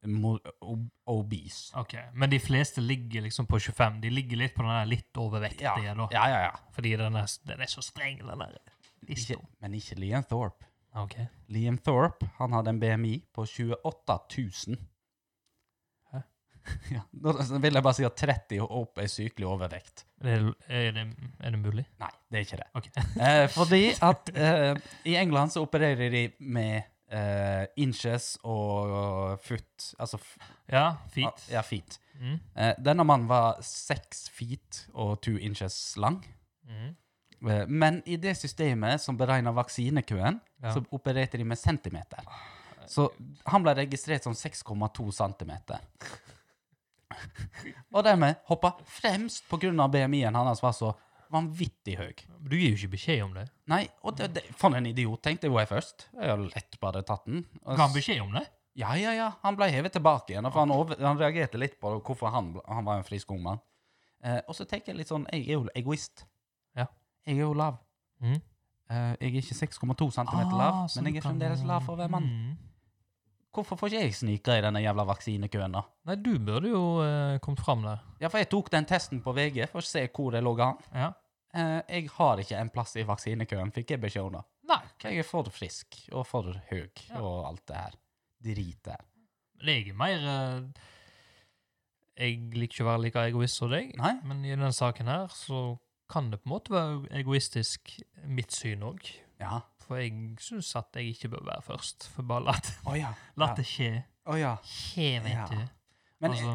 Speaker 1: mo- ob- obese.
Speaker 2: Ok, Men de fleste ligger liksom på 25. De ligger litt på den der litt
Speaker 1: Ja,
Speaker 2: overvektige,
Speaker 1: ja,
Speaker 2: da.
Speaker 1: ja. ja.
Speaker 2: Fordi den er, den er så streng, den der.
Speaker 1: Ikke,
Speaker 2: lista.
Speaker 1: men ikke Liam Thorpe.
Speaker 2: Ok.
Speaker 1: Liam Thorpe han hadde en BMI på 28 000.
Speaker 2: Hæ?
Speaker 1: [laughs] Ja, da vil jeg bare si at 30 og opp er sykelig overvekt.
Speaker 2: Er det, er det, er det mulig?
Speaker 1: Nei, det er ikke det.
Speaker 2: Ok.
Speaker 1: [laughs] Eh, fordi at eh, i England så opererer de med eh, inches og foot, altså f-
Speaker 2: Ja, fint.
Speaker 1: Ja, feet.
Speaker 2: Mm.
Speaker 1: Eh, denne mannen var seks feet og two inches lang.
Speaker 2: Mm.
Speaker 1: Eh, Men i det systemet som beregner vaksinekøen,
Speaker 2: Ja.
Speaker 1: så opererte de med centimeter. Så han ble registrert som 6,2 centimeter. [laughs] Og dermed hoppa fremst pga. BMI-en hans altså var så Vanvittig høy.
Speaker 2: Du gir jo ikke beskjed om det.
Speaker 1: Nei, og det, det, faen en idiot, tenkte jo jeg først. Jeg har lett bare tatt den. Og
Speaker 2: Ga han
Speaker 1: s-
Speaker 2: beskjed om det?
Speaker 1: Ja, ja, ja. Han ble hevet tilbake igjen. For han, over, han reagerte litt på hvorfor han, ble- han var en frisk ung mann. Eh, og så tenker jeg litt sånn Jeg er jo egoist.
Speaker 2: Ja.
Speaker 1: Jeg er jo lav.
Speaker 2: Mhm. Ah, sånn
Speaker 1: Eh, jeg er ikke 6,2 cm lav, men jeg er fremdeles lav for å være mann.
Speaker 2: Mm.
Speaker 1: Hvorfor får ikke jeg snike i denne jævla vaksinekøen, da?
Speaker 2: Nei, du burde jo eh, kommet fram der.
Speaker 1: Ja, for jeg tok den testen på VG for å se hvor det lå an.
Speaker 2: Ja.
Speaker 1: Eh, jeg har ikke en plass i vaksinekøen, fikk jeg beskjed om da.
Speaker 2: Nei,
Speaker 1: Jeg er for frisk og for høy
Speaker 2: Ja.
Speaker 1: og alt det her. Drit det her.
Speaker 2: men jeg er mer eh, Jeg liker ikke å være like egoist som deg,
Speaker 1: Nei?
Speaker 2: men i denne saken her så kan det på en måte være egoistisk mitt syn òg.
Speaker 1: Ja.
Speaker 2: For jeg syns at jeg ikke bør være først. For bare la det,
Speaker 1: Å ja.
Speaker 2: la det skje.
Speaker 1: Å ja.
Speaker 2: Skje, vet
Speaker 1: Ja.
Speaker 2: du.
Speaker 1: Men Mhm.
Speaker 2: altså,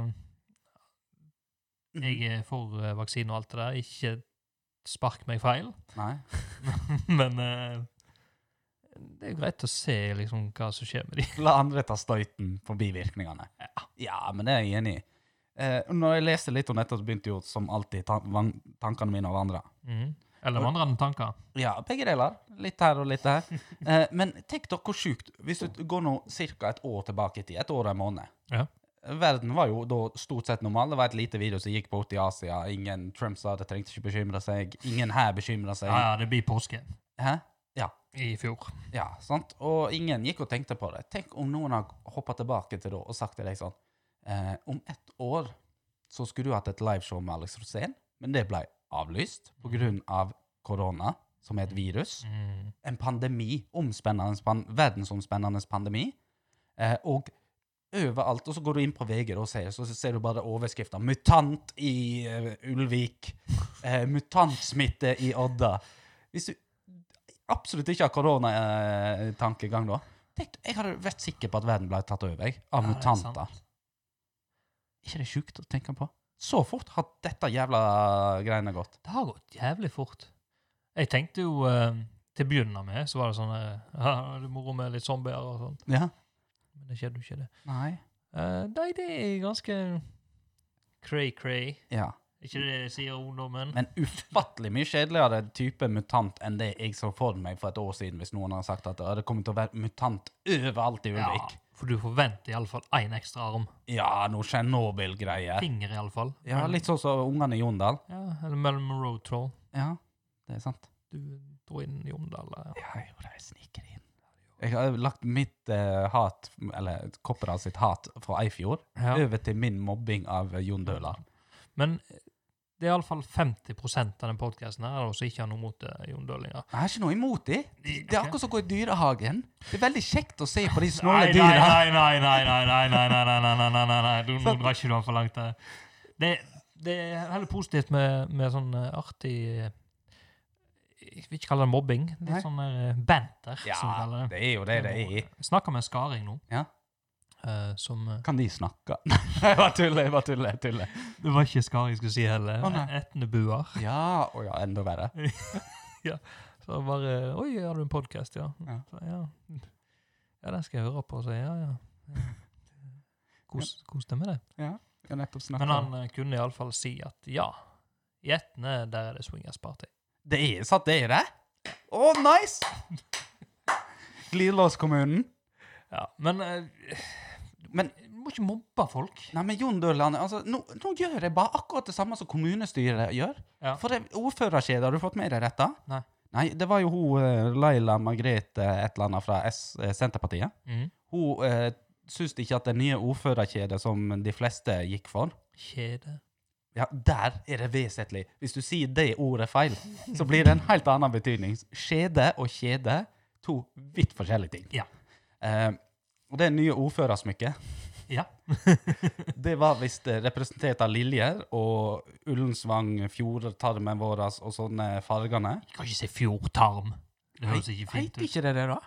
Speaker 2: jeg er for eh, vaksine og alt det der. Ikke spark meg feil. [laughs]
Speaker 1: Nei.
Speaker 2: Men eh, det er jo greit å se liksom hva som skjer med de.
Speaker 1: La andre ta støyten for bivirkningene. Ja. men det er jeg enig i. Eh, når jeg leste litt om dette, så begynte jo som alltid tan van- tankene mine å vandre.
Speaker 2: Mhm. Eller vandrende tanker.
Speaker 1: Ja, begge deler. Litt her og litt der.
Speaker 2: [laughs]
Speaker 1: Eh, men tenk dere hvor sjukt Hvis du går nå ca. et år tilbake i tid, et år og en måned
Speaker 2: Ja.
Speaker 1: Verden var jo da stort sett normal. Det var et lite virus som gikk bort i Asia. Ingen Trump sa det trengte ikke bekymre seg. Ingen her bekymra seg.
Speaker 2: Ja, ja, det blir påske
Speaker 1: Hæ?
Speaker 2: i fjor.
Speaker 1: Ja, sant? Og ingen gikk og tenkte på det. Tenk om noen har hoppa tilbake til da og sagt til deg sånn eh, Om ett år så skulle du hatt et liveshow med Alex Rosén, men det ble avlyst
Speaker 2: Mm.
Speaker 1: pga. Av korona, som er et virus
Speaker 2: Mhm.
Speaker 1: en pandemi, omspennende pan verdensomspennende pandemi, eh, og overalt, og så går du inn på VG da og ser, så ser du bare overskriften 'Mutant i eh, Ulvik', eh, 'Mutantsmitte i Odda'. Hvis du absolutt ikke har koronatankegang eh, tankegang da, tenk, jeg hadde vært sikker på at verden ble tatt over jeg, av
Speaker 2: Ja, det er sant.
Speaker 1: mutanter. ikke det sjukt å tenke på? Så fort har dette jævla greiene gått.
Speaker 2: Det har gått jævlig fort. Jeg tenkte jo eh, til å begynne med så var det sånn her, [laughs] ja, det er moro med litt zombier og sånn.
Speaker 1: Ja.
Speaker 2: Men det skjedde jo ikke, det.
Speaker 1: Nei.
Speaker 2: Eh, nei, det er ganske cray-cray.
Speaker 1: Ja.
Speaker 2: Ikke det sier ungdommen?
Speaker 1: Men ufattelig mye kjedeligere type mutant enn det jeg så for meg for et år siden, hvis noen hadde sagt at «Å, det kommer til å være mutant overalt i Ulvik.
Speaker 2: for du forventer iallfall én ekstra arm.
Speaker 1: Ja, noe Tsjernobyl-greier.
Speaker 2: Finger, iallfall.
Speaker 1: Ja, litt sånn som ungene i Jondal.
Speaker 2: Ja, eller mellom Road Troll.
Speaker 1: Ja, det er sant.
Speaker 2: Du dro inn Jondal. Ja.
Speaker 1: Ja, jo, de sniker inn. Jeg har lagt mitt eh, hat, eller Kopperdal sitt hat fra Eifjord,
Speaker 2: Ja.
Speaker 1: over til min mobbing av eh, Jon Døhler.
Speaker 2: Men det er iallfall 50 av den podkasten her som ikke har noe mot eh, Jon Dølinger.
Speaker 1: Jeg har ikke noe imot de. Det er
Speaker 2: Ok.
Speaker 1: akkurat som å gå i dyrehagen. Det er veldig kjekt å se på de
Speaker 2: Nei,
Speaker 1: snåle
Speaker 2: nei,
Speaker 1: dyra.
Speaker 2: nei, nei, nei, nei, nei, nei, nei, nei, nei, nei, nei, nei, nei. Du- Nå drar ikke du han for langt der. Det, det er heller positivt med, med sånn eh, artig eh, Jeg vil ikke kalle det mobbing.
Speaker 1: Nei.
Speaker 2: Litt sånn der eh, banter, som vi
Speaker 1: Ja,
Speaker 2: kaller det.
Speaker 1: det er jo det det er.
Speaker 2: Jeg snakker med en Skaring nå,
Speaker 1: Ja.
Speaker 2: eh, som eh,
Speaker 1: Kan de snakke? [laughs] Nei, jeg bare tuller, jeg bare tuller. jeg tuller.
Speaker 2: Det var ikke Skaring jeg skulle si heller.
Speaker 1: Å, nei.
Speaker 2: Etnebuer.
Speaker 1: Ja, å ja, enda verre.
Speaker 2: Så bare Oi, har du en podkast, ja?
Speaker 1: Ja.
Speaker 2: Så, ja. Ja, den skal jeg høre på, så ja, ja.
Speaker 1: [laughs]
Speaker 2: ja. Kos, kos deg med det.
Speaker 1: Jeg har nettopp snakket
Speaker 2: Men
Speaker 1: om-
Speaker 2: han eh, kunne iallfall si at ja, i Etne, der er det swingers party.
Speaker 1: Det er satt det i det? Å, nice! Glidelåskommunen.
Speaker 2: Ja, Men eh,
Speaker 1: Men-
Speaker 2: du må ikke mobbe folk.
Speaker 1: Nei, men Jon Døland, altså, nå, nå gjør jeg bare akkurat det samme som kommunestyret gjør.
Speaker 2: Ja.
Speaker 1: For det ordførerskjedet, har du fått med deg dette?
Speaker 2: Nei.
Speaker 1: Nei, det var jo hun eh, Laila Margrethe et eller annet fra S, eh, Senterpartiet.
Speaker 2: Mhm.
Speaker 1: Hun eh, syns ikke at det nye ordførerkjedet som de fleste gikk for,
Speaker 2: Kjede.
Speaker 1: Ja, der er det vesentlig. Hvis du sier det ordet feil, så blir det en helt annen betydning. Skjede og kjede, to vidt forskjellige ting.
Speaker 2: Ja.
Speaker 1: Eh, og det nye ordførersmykket,
Speaker 2: Ja.
Speaker 1: det var visst eh, representert av liljer og Ullensvang, fjordtarmen vår og sånne fargene.
Speaker 2: Jeg kan ikke si fjordtarm. Det høres ikke fint
Speaker 1: Heit
Speaker 2: ut.
Speaker 1: ikke det det, da?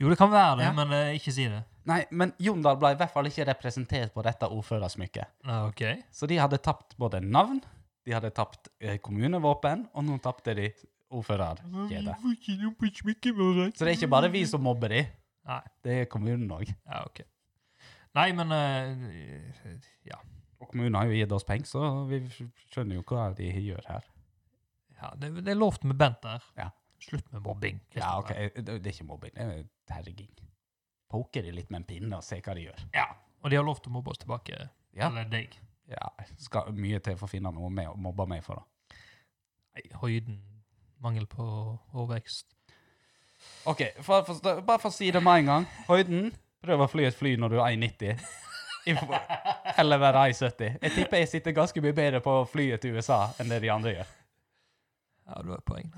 Speaker 2: Jo, det kan være det,
Speaker 1: Ja.
Speaker 2: men eh, ikke si det.
Speaker 1: Nei, men Jondal ble i hvert fall ikke representert på dette ordførersmykket.
Speaker 2: Ja, OK.
Speaker 1: Så de hadde tapt både navn, de hadde tapt eh, kommunevåpen, og nå tapte de ordførerkjedet.
Speaker 2: får ikke altså. noe på smykket vårt.
Speaker 1: Så det er ikke bare vi som mobber de.
Speaker 2: Nei.
Speaker 1: Det er kommunen òg.
Speaker 2: Ja, ok. Nei, men eh, ja.
Speaker 1: Og kommunen har jo gitt oss penger, så vi skjønner jo hva de gjør her.
Speaker 2: Ja, det, det er lovt med Bent der.
Speaker 1: Ja.
Speaker 2: Slutt med mobbing.
Speaker 1: Ja,
Speaker 2: Kristoffer.
Speaker 1: ok, det det er ikke mobbing, det er terging. Poke de litt med en pinne og se hva de gjør.
Speaker 2: Ja. Og de har lov til å mobbe oss tilbake.
Speaker 1: Ja.
Speaker 2: Eller deg.
Speaker 1: Ja, skal mye til for å finne noe med å mobbe meg for da.
Speaker 2: Nei, høyden. Mangel på hårvekst.
Speaker 1: Ok, for, for, bare for å si det med en gang. Høyden, prøv å fly et fly når du er 1,90. I for- [laughs] Eller være 1,70. Jeg tipper jeg sitter ganske mye bedre på flyet til USA enn det de andre gjør.
Speaker 2: Ja, du har et poeng.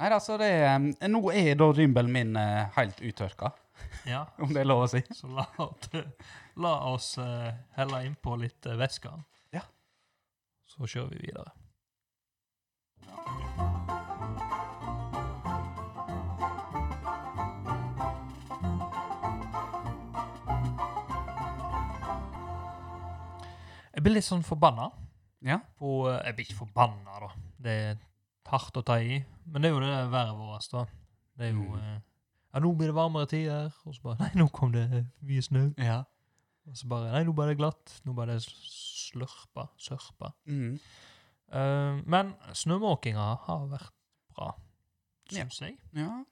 Speaker 1: Nei, altså det er, eh, Nå er da rymbelen min eh, helt uttørka,
Speaker 2: Ja,
Speaker 1: [laughs] om det er lov å si.
Speaker 2: så la, la oss eh, helle innpå litt eh, væske.
Speaker 1: Ja.
Speaker 2: Så kjører vi videre. Jeg blir litt sånn forbanna.
Speaker 1: Ja.
Speaker 2: På, eh, jeg blir ikke forbanna, da. Det er hardt å ta i. Men det er jo det været vårt, da. Det er jo
Speaker 1: Mm.
Speaker 2: eh, Ja, nå blir det varmere tider. Og så bare [laughs] Nei, nå kom det eh, mye snø.
Speaker 1: Ja.
Speaker 2: Og så bare Nei, nå ble det glatt. Nå ble det slørpa. Sørpa.
Speaker 1: Mm.
Speaker 2: Eh, men snømåkinga har vært bra,
Speaker 1: Ja.
Speaker 2: syns jeg.
Speaker 1: Ja.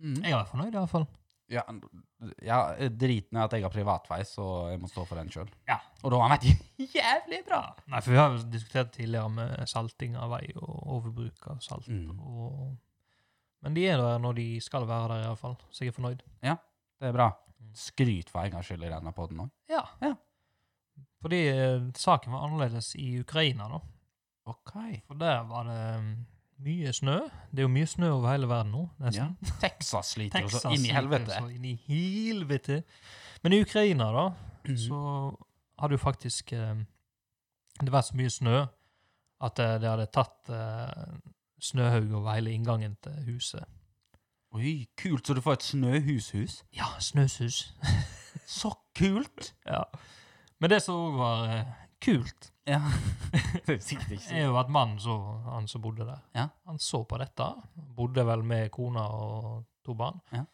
Speaker 1: Mm.
Speaker 2: Jeg er fornøyd, iallfall.
Speaker 1: Ja, ja, driten er at jeg har privatvei, så jeg må stå for den sjøl.
Speaker 2: Ja.
Speaker 1: Og da har han vært jævlig bra!
Speaker 2: Nei, for vi har jo diskutert tidligere med salting av vei og overbruk av salt.
Speaker 1: Mm.
Speaker 2: Og, men de er der når de skal være der, iallfall. Så jeg er fornøyd.
Speaker 1: Det er bra.
Speaker 2: Mm.
Speaker 1: Skryt for en gangs skyld i denne poden òg.
Speaker 2: Ja.
Speaker 1: Ja.
Speaker 2: Fordi eh, saken var annerledes i Ukraina, da.
Speaker 1: OK.
Speaker 2: For der var det mm, mye snø. Det er jo mye snø over hele verden nå,
Speaker 1: Ja.
Speaker 2: nesten.
Speaker 1: Texas sliter jo
Speaker 2: Texas
Speaker 1: så inn
Speaker 2: gikk
Speaker 1: i
Speaker 2: jo
Speaker 1: helvete.
Speaker 2: Så inn i helvete. Men i Ukraina, da,
Speaker 1: Mhm.
Speaker 2: så hadde jo faktisk eh, Det vært så mye snø at eh, det hadde tatt eh, snøhaug over hele inngangen til huset.
Speaker 1: Oi, kult! Så du får et snøhushus?
Speaker 2: Ja, snøsus. [laughs]
Speaker 1: Så kult!
Speaker 2: Ja. Men det som òg var eh, kult,
Speaker 1: Ja. det er sikkert ikke
Speaker 2: er jo at mannen så, han som bodde der,
Speaker 1: Ja.
Speaker 2: han så på dette. Bodde vel med kona og to barn.
Speaker 1: Ja.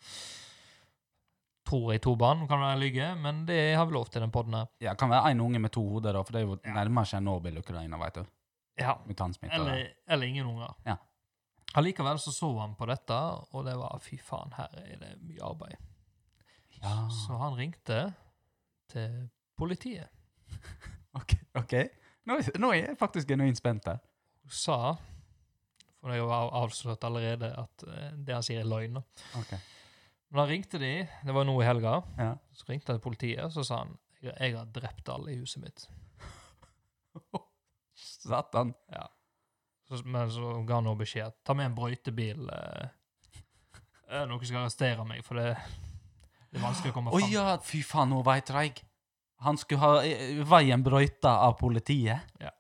Speaker 2: Tror jeg to barn, kan være jeg lyver, men det har vi lov til i den podden her.
Speaker 1: Ja, kan være en unge med to hoder, da, for det er jo nærmere Tsjernobyl, Ukraina, vet du.
Speaker 2: Ja.
Speaker 1: Mutantsmitte. og-
Speaker 2: Eller, eller ingen unger.
Speaker 1: Ja.
Speaker 2: Allikevel så så han på dette, og det var fy faen, her er det mye arbeid.
Speaker 1: Ja.
Speaker 2: Så han ringte til politiet
Speaker 1: OK. ok. Nå, nå er jeg faktisk genuint spent her.
Speaker 2: og sa, for jeg har avslørt allerede at eh, det han sier er løgn. da.
Speaker 1: Ok.
Speaker 2: Men han ringte de, det var nå i helga,
Speaker 1: Ja.
Speaker 2: så ringte han til politiet, og så sa han jeg, jeg har drept alle i huset mitt.
Speaker 1: Satan.
Speaker 2: Så, men så ga han nå beskjed ta med en brøytebil eh, eh, noen skal arrestere meg, for det, det er vanskelig å komme
Speaker 1: Å
Speaker 2: fram.
Speaker 1: ja, fy faen, nå veit jeg. Han skulle ha eh, veien brøyta av politiet.
Speaker 2: Ja.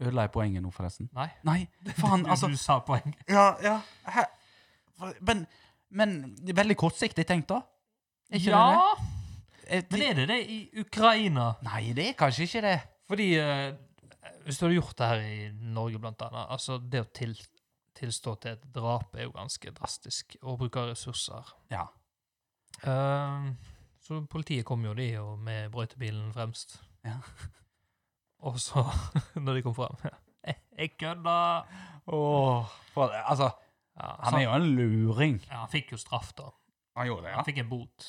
Speaker 1: Ødela jeg poenget nå, forresten?
Speaker 2: Nei.
Speaker 1: Nei, faen,
Speaker 2: Du-
Speaker 1: altså.
Speaker 2: Du sa poeng.
Speaker 1: Ja, ja. hæ? For- Men, men det er veldig kortsiktig tenkt, da. Er ikke det
Speaker 2: ja,
Speaker 1: det? Eh,
Speaker 2: men
Speaker 1: det?
Speaker 2: er det det i Ukraina?
Speaker 1: Nei, det er kanskje ikke det.
Speaker 2: Fordi eh, hvis du hadde gjort det her i Norge, blant annet altså Det å til, tilstå til et drap er jo ganske drastisk, og bruke ressurser.
Speaker 1: Ja.
Speaker 2: Ehm, så politiet kom jo, de, og med brøytebilen fremst.
Speaker 1: Ja.
Speaker 2: Og så, [laughs] når de kom frem Jeg, jeg kødda!
Speaker 1: Åh, for, altså,
Speaker 2: Ja,
Speaker 1: han er jo en luring.
Speaker 2: ja, han fikk jo straff, da.
Speaker 1: Han gjorde Eh,
Speaker 2: Han fikk en bot.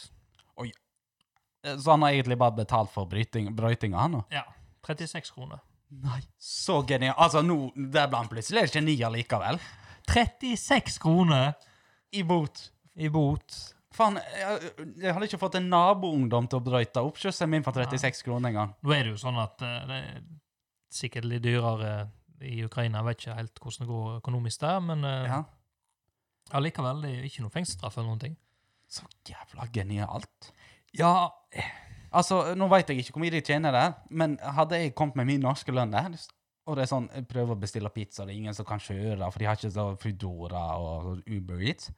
Speaker 1: Så han har egentlig bare betalt for bryting, brøytinga, han nå?
Speaker 2: Ja. 36 kroner.
Speaker 1: Nei. Så genialt. Altså, nå, der ble han plutselig et geni allikevel.
Speaker 2: 36 kroner
Speaker 1: I bot.
Speaker 2: i bot!
Speaker 1: Faen, jeg, jeg hadde ikke fått en naboungdom til å brøyte opp kjøssen min for 36 kroner en gang.
Speaker 2: Nå er det jo sånn at eh, det er sikkert litt dyrere i Ukraina. Jeg vet ikke helt hvordan det går økonomisk der, men eh,
Speaker 1: Ja.
Speaker 2: allikevel, det er jo ikke noe fengselsstraff eller noen ting.
Speaker 1: Så jævla genialt.
Speaker 2: Ja,
Speaker 1: Altså, nå vet jeg ikke hvor mye de tjener der, men hadde jeg kommet med min norske lønn der, og det er sånn, jeg prøver å bestille pizza, det er ingen som kan kjøre, for de har ikke så Foodora og Uber Eats.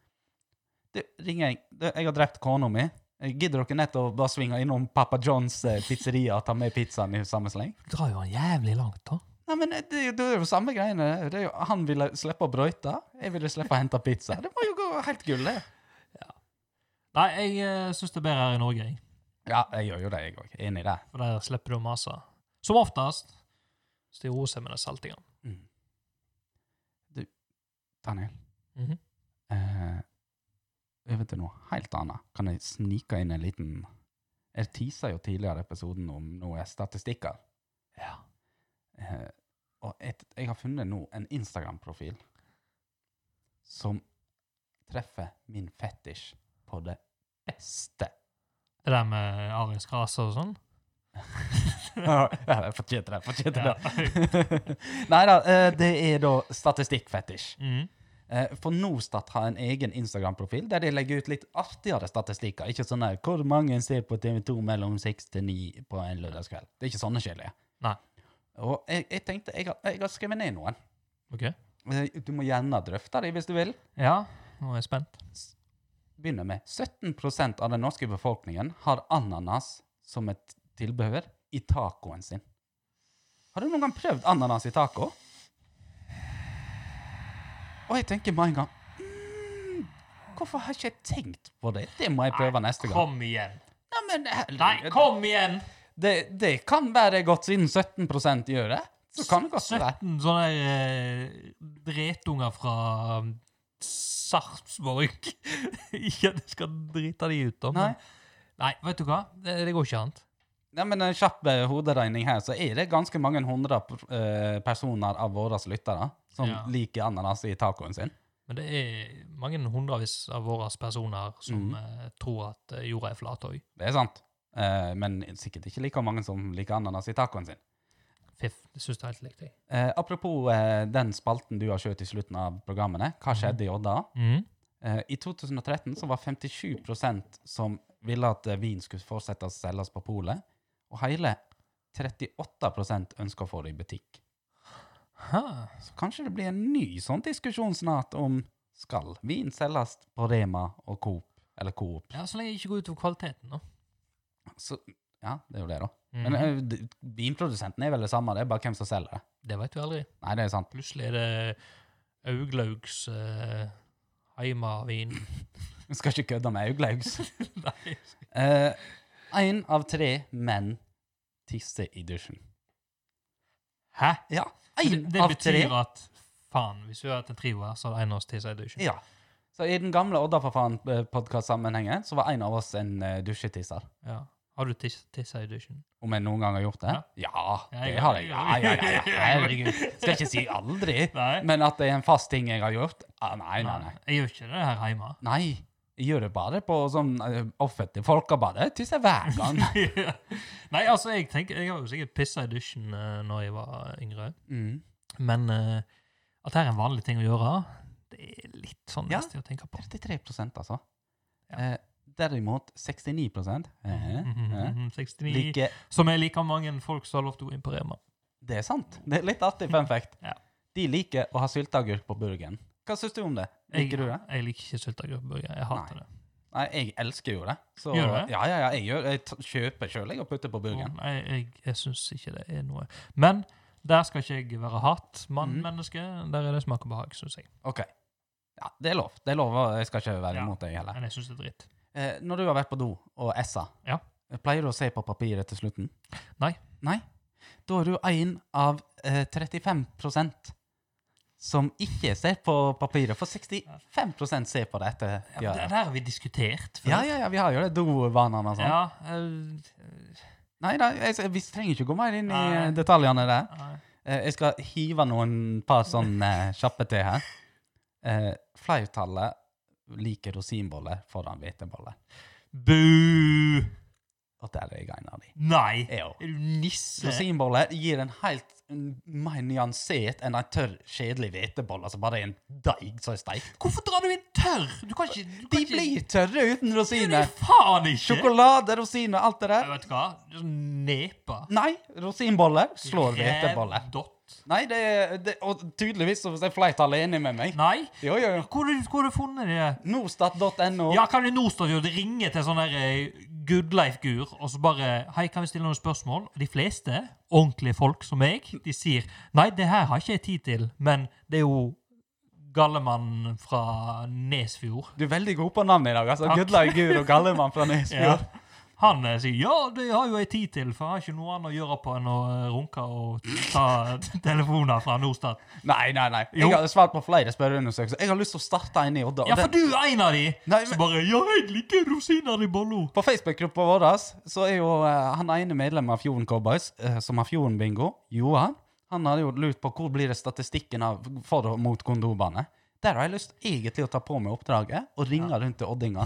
Speaker 1: Du, ringer jeg. Du, jeg har drept kona mi. Gidder dere nett å bare svinge innom Papa Johns eh, pizzeria og ta med pizzaen i samme sleng?
Speaker 2: du drar jo han jævlig langt, da.
Speaker 1: Nei, men det, er jo- det er jo samme greiene. Det er jo, han ville slippe å brøyte, jeg ville slippe å hente pizza. Det må jo gå helt gull, det.
Speaker 2: Nei, jeg uh, syns det er bedre her i Norge, jeg.
Speaker 1: Ja, jeg gjør jo det, jeg òg. Enig i det.
Speaker 2: For der slipper du å mase. Som oftest. Så de roer seg med den saltinga.
Speaker 1: Daniel,
Speaker 2: Mhm.
Speaker 1: eh, over til noe helt annet. Kan jeg snike inn en liten Jeg teasa jo tidligere i episoden om noe statistikker.
Speaker 2: Ja.
Speaker 1: Eh, og et, jeg har funnet nå en Instagram-profil som treffer min fetisj på det beste.
Speaker 2: Det der med arisk rase og sånn?
Speaker 1: [laughs] Ja, jeg fortjente det. Fortjente det. Nei da, eh, det er da statistikkfetisj.
Speaker 2: [laughs] Mhm.
Speaker 1: Eh, For Norstat har en egen Instagram-profil der de legger ut litt artigere statistikker. Ikke sånn der 'Hvor mange ser på TV2 mellom 6 til 9 på en lørdagskveld?' Det er ikke sånne kjedelige.
Speaker 2: Nei.
Speaker 1: Og jeg, jeg tenkte jeg har, jeg har skrevet ned noen.
Speaker 2: OK.
Speaker 1: Eh, Du må gjerne drøfte dem hvis du vil.
Speaker 2: Ja, nå er jeg spent.
Speaker 1: Begynner med 17 av den norske befolkningen har ananas som et tilbehør i tacoen sin. Har du noen gang prøvd ananas i taco? Og jeg tenker med en gang mm, Hvorfor har ikke jeg tenkt på det? Det må jeg prøve neste gang.
Speaker 2: Kom igjen!
Speaker 1: Nei, men, hel-
Speaker 2: Nei, kom igjen!
Speaker 1: det, det kan være godt, siden 17 gjør det. Så kan det godt være.
Speaker 2: 17 sånne eh, dretunger fra um, Sarpsborg. [laughs] Ikke at jeg skal drite de ut, da. men-
Speaker 1: Nei.
Speaker 2: Nei, vet du hva? Det, det går ikke annet.
Speaker 1: Nei, men en kjapp eh, hoderegning her, så er det ganske mange hundre pr- eh, personer av våre lyttere som
Speaker 2: Ja.
Speaker 1: liker ananas i tacoen sin.
Speaker 2: Men det er mange hundrevis av våre personer som eh, tror at eh, jorda er flat òg.
Speaker 1: Det er sant. Eh, men sikkert ikke like mange som liker ananas i tacoen sin.
Speaker 2: Fiff. Det syns jeg er helt likt. jeg.
Speaker 1: Eh, apropos eh, den spalten du har kjørt i slutten av programmene, hva skjedde i Odda? Eh, I 2013 så var 57 som ville at eh, vin skulle fortsette å selges på polet, og hele 38 ønsker å få det i butikk.
Speaker 2: Hæ?
Speaker 1: Så kanskje det blir en ny sånn diskusjon snart om skal vin selges på Rema og Coop, eller Coop.
Speaker 2: Ja, Så lenge det ikke går utover kvaliteten, da.
Speaker 1: Så, ja, det er jo det, da.
Speaker 2: Mhm.
Speaker 1: Men eh, d- vinprodusenten er vel det samme, det er bare hvem som selger det.
Speaker 2: Det veit vi aldri.
Speaker 1: Nei, det er sant. [laughs]
Speaker 2: Plutselig er det Auglaugs eh, Heimavin.
Speaker 1: Vi skal ikke kødde med [laughs] auglaugs.
Speaker 2: Nei.
Speaker 1: Én av tre menn tisser i dusjen.
Speaker 2: Hæ?
Speaker 1: Ja,
Speaker 2: Det,
Speaker 1: én
Speaker 2: det
Speaker 1: av tre.
Speaker 2: betyr at faen, hvis vi hadde hatt en trio her, så hadde en av oss tissa i dusjen.
Speaker 1: Ja. Så i den gamle Odda for faen-podkast-sammenhengen så var en av oss en eh, dusjetisser.
Speaker 2: Ja. Har du tis- tissa i dusjen?
Speaker 1: Om jeg noen gang har gjort det? Ja,
Speaker 2: jeg
Speaker 1: det
Speaker 2: har-
Speaker 1: har jeg. Ja, ja, ja, ja. Herregud. Skal ikke si aldri, [laughs]
Speaker 2: Nei.
Speaker 1: men at det er en fast ting jeg har gjort? Ah, nei, nei, nei.
Speaker 2: Jeg gjør ikke det her hjemme.
Speaker 1: Nei, jeg gjør det bare på sånn eh, offentlig folkebad. Jeg tisser hver gang. [laughs]
Speaker 2: [laughs] Nei, altså, jeg tenker Jeg har jo sikkert pissa i dusjen uh, når jeg var yngre,
Speaker 1: Mm.
Speaker 2: men eh, at det er en vanlig ting å gjøre, det er litt sånn
Speaker 1: Ja.
Speaker 2: nesten å tenke på.
Speaker 1: 33 altså.
Speaker 2: Ja. Mm.
Speaker 1: Eh, derimot 69 eh,
Speaker 2: Mhm,
Speaker 1: eh,
Speaker 2: 69
Speaker 1: liker
Speaker 2: Som er like mange folk som har lov til å gå inn på Rema.
Speaker 1: Det er sant. Det er litt artig fun fact.
Speaker 2: [laughs] Ja.
Speaker 1: De liker å ha sylteagurk på burgeren. Hva syns du om det?
Speaker 2: Jeg,
Speaker 1: Liker du det?
Speaker 2: jeg liker ikke sylteagurkburger. Jeg hater
Speaker 1: Nei.
Speaker 2: det.
Speaker 1: Nei, jeg elsker jo det. Så,
Speaker 2: Gjør du det? Mm.
Speaker 1: Ja, ja, ja, jeg, gjør, jeg t- kjøper sjøl og putter på burgeren.
Speaker 2: Nei, jeg, jeg syns ikke det er noe. Men der skal ikke jeg være hat. Mann,
Speaker 1: Mhm.
Speaker 2: menneske. Der er det smak og behag, syns jeg.
Speaker 1: OK. Ja, det er lov. Det er lov, og jeg skal ikke være
Speaker 2: Ja.
Speaker 1: imot deg heller.
Speaker 2: Men jeg syns det er dritt.
Speaker 1: Eh, når du har vært på do og essa,
Speaker 2: Ja.
Speaker 1: pleier du å se på papiret til slutten?
Speaker 2: Nei.
Speaker 1: Nei? Da er du en av eh, 35 som ikke ser på papiret, for 65 ser på det etter
Speaker 2: Ja, men
Speaker 1: de har
Speaker 2: det
Speaker 1: det.
Speaker 2: der har vi diskutert før.
Speaker 1: Ja, ja, ja, vi har jo det. Dovanene og sånn.
Speaker 2: Ja, eh,
Speaker 1: Nei da, jeg, vi trenger ikke gå mer inn i
Speaker 2: Nei.
Speaker 1: eh, detaljene der.
Speaker 2: nei.
Speaker 1: Eh, jeg skal hive noen par sånne eh, kjappe til her. Eh, flertallet liker rosinboller foran hveteboller.
Speaker 2: Bu!
Speaker 1: Og der er jeg en av de.
Speaker 2: Nei!
Speaker 1: Jo.
Speaker 2: Er du nisse?
Speaker 1: Rosinboller gir en helt mm, mer nyansert enn en tørr, kjedelig hvetebolle som bare er en deig som er steikt.
Speaker 2: Hvorfor drar du inn tørr? Du kan ikke du
Speaker 1: De
Speaker 2: kan
Speaker 1: blir tørre
Speaker 2: ikke
Speaker 1: uten
Speaker 2: Nei,
Speaker 1: rosiner.
Speaker 2: faen ikke!
Speaker 1: Sjokolade, rosiner, alt det
Speaker 2: Nei,
Speaker 1: der.
Speaker 2: Vet du hva? Det er Sånn nepa.
Speaker 1: Nei, rosinboller slår hveteboller.
Speaker 2: Rævdott.
Speaker 1: Nei, det, er- det, og tydeligvis så er flertallet enig med meg.
Speaker 2: Nei?
Speaker 1: Jo, jo, jo.
Speaker 2: Hvor har du- hvor har du funnet det?
Speaker 1: Norstat.no.
Speaker 2: Ja, kan du nå stå og ringe til sånn der eh, Good Life-gur, og så bare Hei, kan vi stille noen spørsmål? Og de fleste ordentlige folk som meg, de sier Nei, det her har ikke jeg tid til, men det er jo Gallemann fra Nesfjord.
Speaker 1: Du er veldig god på navnet i dag. altså.
Speaker 2: Takk.
Speaker 1: Gudleif Gur og Gallemann fra Nesfjord.
Speaker 2: Han eh, sier 'ja, det har jo jeg tid til', for jeg har ikke noe annet å gjøre på enn å eh, runke og ta t- telefoner fra Norstat.
Speaker 1: Nei, nei, nei.
Speaker 2: Jo.
Speaker 1: Jeg har svart på flere spørreundersøkelser. Jeg har lyst til å starte en i Odda. og
Speaker 2: Ja, for
Speaker 1: den-
Speaker 2: du er en av de!
Speaker 1: Nei,
Speaker 2: Så
Speaker 1: men-
Speaker 2: bare 'ja, jeg liker rosiner i bolla'.
Speaker 1: På Facebook-gruppa vår så er jo eh, han ene medlemmet av Fjorden Cowboys, eh, som har Fjorden-bingo, Johan, han har jo lurt på hvor blir det statistikken av for og mot kondomene. Der har jeg lyst egentlig å ta på meg oppdraget og ringe rundt til oddinger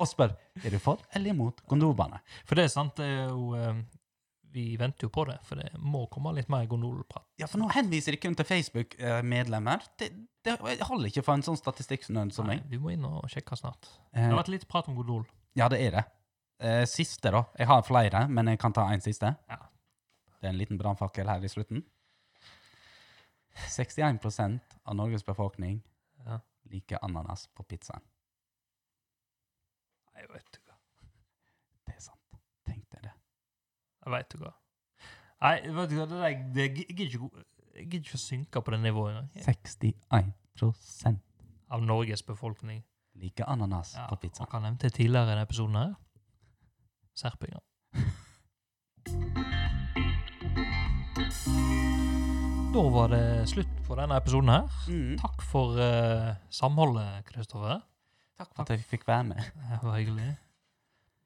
Speaker 1: og spørre er du for eller imot kondomene.
Speaker 2: For det er sant, det er jo eh, Vi venter jo på det, for det må komme litt mer gondolprat.
Speaker 1: Ja, for nå henviser de kun til Facebook-medlemmer. Det, det holder ikke for en sånn statistikksnød som
Speaker 2: Nei,
Speaker 1: meg.
Speaker 2: Vi må inn og sjekke snart. Det
Speaker 1: Eh,
Speaker 2: har vært litt prat om gondol.
Speaker 1: Ja, det er det. Eh, Siste, da. Jeg har flere, men jeg kan ta en siste.
Speaker 2: Ja.
Speaker 1: Det er en liten brannfakkel her i slutten. 61 av Norges befolkning
Speaker 2: Ja.
Speaker 1: liker ananas på pizzaen.
Speaker 2: Jeg vet ikke.
Speaker 1: Det er sant. Tenk deg det.
Speaker 2: Jeg vet ikke. Nei, vet du hva, det der, det, jeg gidder ikke gå- jeg gidder ikke å synke på det nivået engang.
Speaker 1: 61
Speaker 2: Av Norges befolkning.
Speaker 1: liker ananas
Speaker 2: Ja,
Speaker 1: på pizzaen.
Speaker 2: Og hva nevnte jeg tidligere i denne episoden her? Serpinger. [laughs] Da var det slutt på denne episoden her.
Speaker 1: Mm.
Speaker 2: Takk for eh, samholdet, Kristoffer.
Speaker 1: Takk for at jeg fikk være med.
Speaker 2: Det var hyggelig.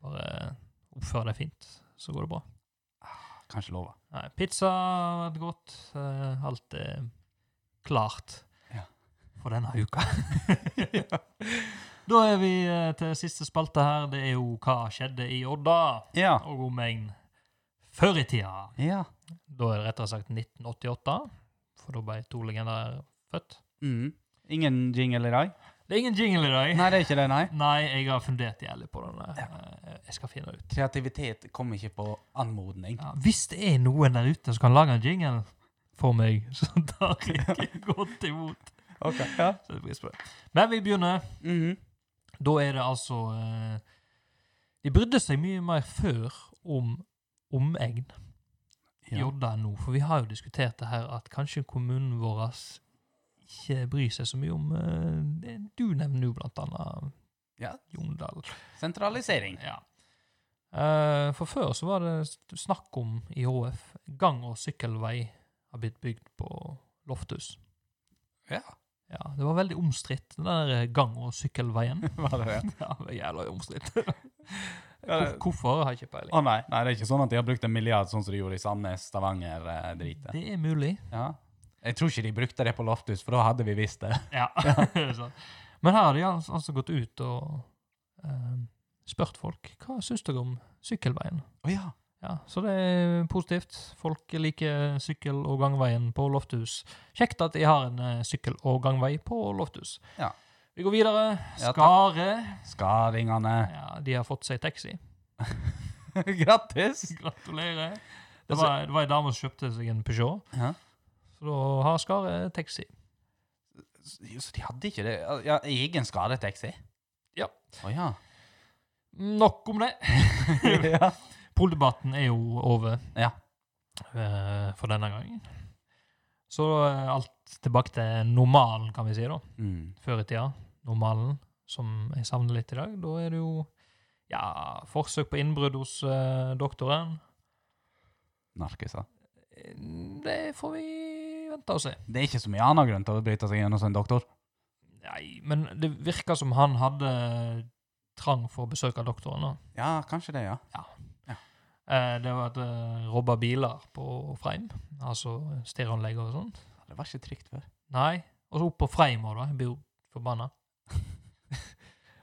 Speaker 2: Bare eh, oppfør deg fint, så går det bra.
Speaker 1: Kanskje lova.
Speaker 2: Nei, pizza har vært godt. Eh, alt er klart
Speaker 1: Ja.
Speaker 2: for denne uka. [laughs] da er vi eh, til siste spalte her. Det er jo hva skjedde i Odda
Speaker 1: Ja.
Speaker 2: og omegn før i tida.
Speaker 1: Ja.
Speaker 2: Da er det rettere sagt 1988, for da ble to legender født.
Speaker 1: Mm. Ingen jingle i dag?
Speaker 2: Det er ingen jingle i dag.
Speaker 1: Nei, det er ikke det, nei.
Speaker 2: Nei, jeg har fundert jævlig på den. der. Eh, Jeg skal finne ut.
Speaker 1: Kreativitet kommer ikke på anmodning.
Speaker 2: Ja, hvis det er noen der ute som kan lage en jingle for meg, [laughs] så tar jeg godt imot.
Speaker 1: Ok, ja.
Speaker 2: Så det blir spennende. Men vi begynner.
Speaker 1: Mhm.
Speaker 2: Da er det altså eh, De brydde seg mye mer før om omegn i
Speaker 1: Ja.
Speaker 2: Odda enn nå. For vi har jo diskutert det her at kanskje kommunen vår ikke bryr seg så mye om eh, det Du nevner jo blant annet
Speaker 1: Ja.
Speaker 2: Jondal.
Speaker 1: Sentralisering.
Speaker 2: Ja. Eh, for før så var det st- snakk om i HF gang- og sykkelvei har blitt bygd på Lofthus.
Speaker 1: Ja.
Speaker 2: Ja, Det var veldig omstridt, den der eh, gang- og sykkelveien.
Speaker 1: [laughs] Var det det?
Speaker 2: [laughs] ja, det var Jævla omstridt.
Speaker 1: Ja,
Speaker 2: [laughs] Hvor,
Speaker 1: det-
Speaker 2: hvorfor har jeg ikke
Speaker 1: Å
Speaker 2: peiling.
Speaker 1: nei, nei, det er ikke sånn at de har brukt en milliard sånn som de gjorde i Sandnes, Stavanger, eh, dritet.
Speaker 2: Det er mulig.
Speaker 1: Ja. Jeg tror ikke de brukte det på Loftus, for da hadde vi visst det.
Speaker 2: [laughs] Ja. Så- Men her har de altså, altså gått ut og eh, spurt folk hva syns dere om sykkelveien.
Speaker 1: Å ja.
Speaker 2: Ja, Så det er positivt. Folk liker sykkel- og gangveien på Lofthus. Kjekt at de har en eh, sykkel- og gangvei på Lofthus.
Speaker 1: Ja.
Speaker 2: Vi går videre.
Speaker 1: Ja, takk.
Speaker 2: Skare.
Speaker 1: Skaringene.
Speaker 2: Ja, de har fått seg taxi.
Speaker 1: [laughs]
Speaker 2: [laughs]
Speaker 1: Grattis!
Speaker 2: Gratulerer. Det
Speaker 1: Altså-
Speaker 2: var, det var ei dame som kjøpte seg en Peugeot,
Speaker 1: Ja.
Speaker 2: så da har Skare taxi.
Speaker 1: Jo, Så de hadde ikke det? Ja, egen skadetaxi?
Speaker 2: Ja.
Speaker 1: Å ja.
Speaker 2: Nok om det.
Speaker 1: [laughs] ja.
Speaker 2: Poldebatten er jo over
Speaker 1: Ja.
Speaker 2: eh, for denne gangen. Så eh, alt tilbake til normalen, kan vi si, da.
Speaker 1: Mm.
Speaker 2: før i tida, normalen, som jeg savner litt i dag, da er det jo ja, forsøk på innbrudd hos eh, doktoren.
Speaker 1: Narkiser.
Speaker 2: Eh, Det får vi vente og se.
Speaker 1: Det er ikke så mye annen grunn til å bryte seg inn hos en doktor.
Speaker 2: Nei, men det virker som han hadde trang for å besøke doktoren. da.
Speaker 1: Ja, kanskje det, ja.
Speaker 2: Eh, det var at uh, robba biler på Freim, altså stereoanlegg og sånt.
Speaker 1: Det var ikke trygt før.
Speaker 2: Nei. Og så opp på Freima, da. Jeg blir jo forbanna. [laughs]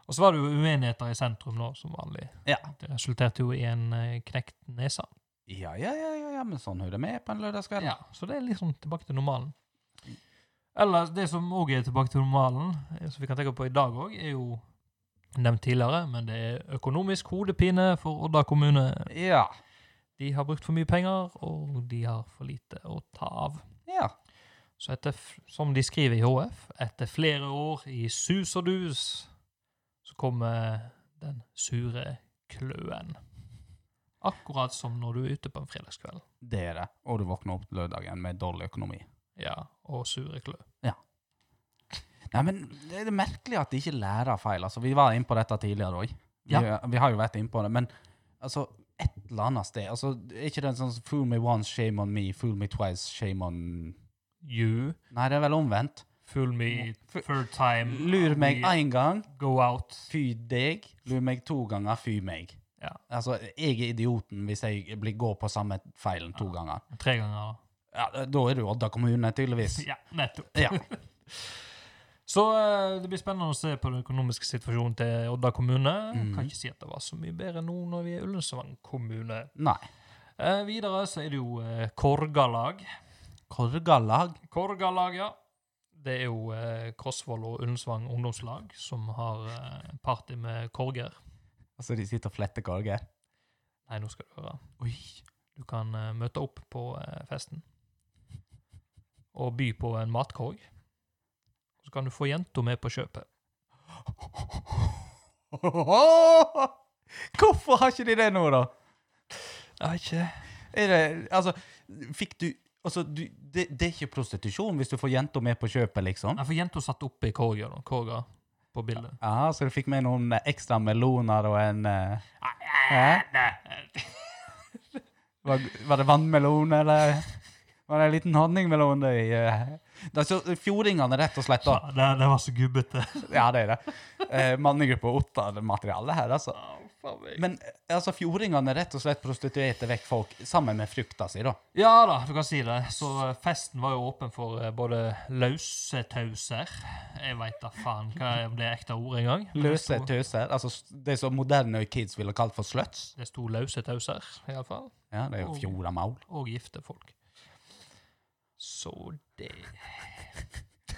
Speaker 2: og så var det jo uenigheter i sentrum, da, som vanlig.
Speaker 1: Ja.
Speaker 2: Det resulterte jo i en eh, knekt nese.
Speaker 1: Ja, ja, ja, ja, ja, men sånn hører det med på en lørdagskveld.
Speaker 2: Ja, så det er liksom tilbake til normalen. Eller det som òg er tilbake til normalen, eh, som vi kan tenke på i dag òg, er jo nevnt tidligere, men det er økonomisk hodepine for Odda kommune.
Speaker 1: Ja.
Speaker 2: De har brukt for mye penger, og de har for lite å ta av.
Speaker 1: ja.
Speaker 2: Så etter, f- som de skriver i HF, etter flere år i sus og dus, så kommer den sure kløen. Akkurat som når du er ute på en fredagskveld.
Speaker 1: Det er det. Og du våkner opp lørdagen med dårlig økonomi.
Speaker 2: Ja, og sure klø.
Speaker 1: Nei, men det er merkelig at de ikke lærer av feil. Altså, vi var inne på dette tidligere òg. Vi, vi har jo vært inne på det. Men Altså, et eller annet sted. Altså, er ikke den sånn 'fool me once, shame on me', 'fool me twice, shame on'
Speaker 2: You
Speaker 1: Nei, det er vel omvendt.
Speaker 2: fool me third time.
Speaker 1: Lur meg
Speaker 2: we
Speaker 1: én gang,
Speaker 2: Go out.
Speaker 1: fy deg. Lur meg to ganger, fy meg.
Speaker 2: Ja.
Speaker 1: Altså, jeg er idioten hvis jeg blir går på samme feilen to ganger.
Speaker 2: Tre ganger.
Speaker 1: Ja, Da er du Odda kommune,
Speaker 2: [laughs]
Speaker 1: tydeligvis.
Speaker 2: Ja, nettopp.
Speaker 1: Ja.
Speaker 2: Så eh, det blir spennende å se på den økonomiske situasjonen til Odda kommune. Kan ikke si at det var så mye bedre nå når vi er Ullensvang kommune.
Speaker 1: Nei.
Speaker 2: Eh, videre så er det jo eh, Korgalag.
Speaker 1: Korgalag.
Speaker 2: Korgalag, ja. Det er jo eh, Krossvoll og Ullensvang ungdomslag som har eh, party med korger.
Speaker 1: Altså, de sitter og fletter korger.
Speaker 2: Nei, nå skal du høre.
Speaker 1: Oi.
Speaker 2: Du kan eh, møte opp på eh, festen og by på en matkorg. Så kan du få jenta med på kjøpet.
Speaker 1: [laughs] Hvorfor har ikke de det nå, da?
Speaker 2: Jeg vet ikke.
Speaker 1: Er det, altså, fikk du Altså, du, det, det er ikke prostitusjon hvis du får jenta med på kjøpet, liksom?
Speaker 2: Nei, for jenta satt oppe i korga, da. Korga på bildet.
Speaker 1: Ja, så du fikk med noen eh, ekstra meloner og en eh, Hæ? [laughs] Var, var det vannmelon, eller var det en liten honningmelon? Det, i, eh? det er så fjordingene, rett og slett. da.
Speaker 2: Ja, det, det var så gubbete.
Speaker 1: Ja, det er det. Eh, Mannegruppa Ottar-materiale her, altså.
Speaker 2: Men,
Speaker 1: Men eh, altså, fjordingene rett og slett prostituerte vekk folk sammen med frukta si, da.
Speaker 2: ja da, du kan si det. Så eh, festen var jo åpen for eh, både løse tauser Jeg veit da faen hva er- om det er ekte ord engang. Men det
Speaker 1: Løse
Speaker 2: sto-
Speaker 1: tøser. Altså s- det som moderne kids ville kalt for sluts.
Speaker 2: Det sto løse tauser, iallfall.
Speaker 1: Ja, det er jo
Speaker 2: Og-
Speaker 1: fjordamaul.
Speaker 2: Og gifte folk. Så det
Speaker 1: [laughs]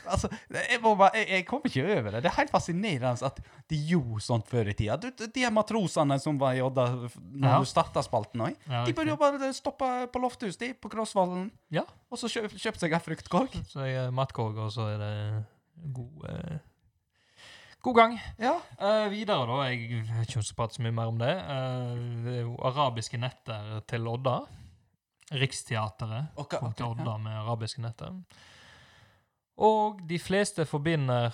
Speaker 1: Altså, jeg, må bare, jeg, jeg kommer ikke over det. Det er helt fascinerende at de gjorde sånt før i tida. Du, du- de her matrosene som var i Odda f- når
Speaker 2: Ja.
Speaker 1: du starta spalten òg,
Speaker 2: Ja,
Speaker 1: de burde jo
Speaker 2: riktig.
Speaker 1: bare stoppa på Lofthus, de, på Krossvollen,
Speaker 2: Ja.
Speaker 1: og så kjøpt kjøpt seg ei fruktkorg.
Speaker 2: Så jeg er matkorg, og så er det god eh, God gang.
Speaker 1: Ja.
Speaker 2: Eh, videre, da. Jeg vet ikke om jeg skal prate så mye mer om det. Eh, det er jo arabiske netter til Odda. Riksteateret
Speaker 1: Og, hva-
Speaker 2: kom til
Speaker 1: ok, ja.
Speaker 2: Odda med arabiske netter. Og de fleste forbinder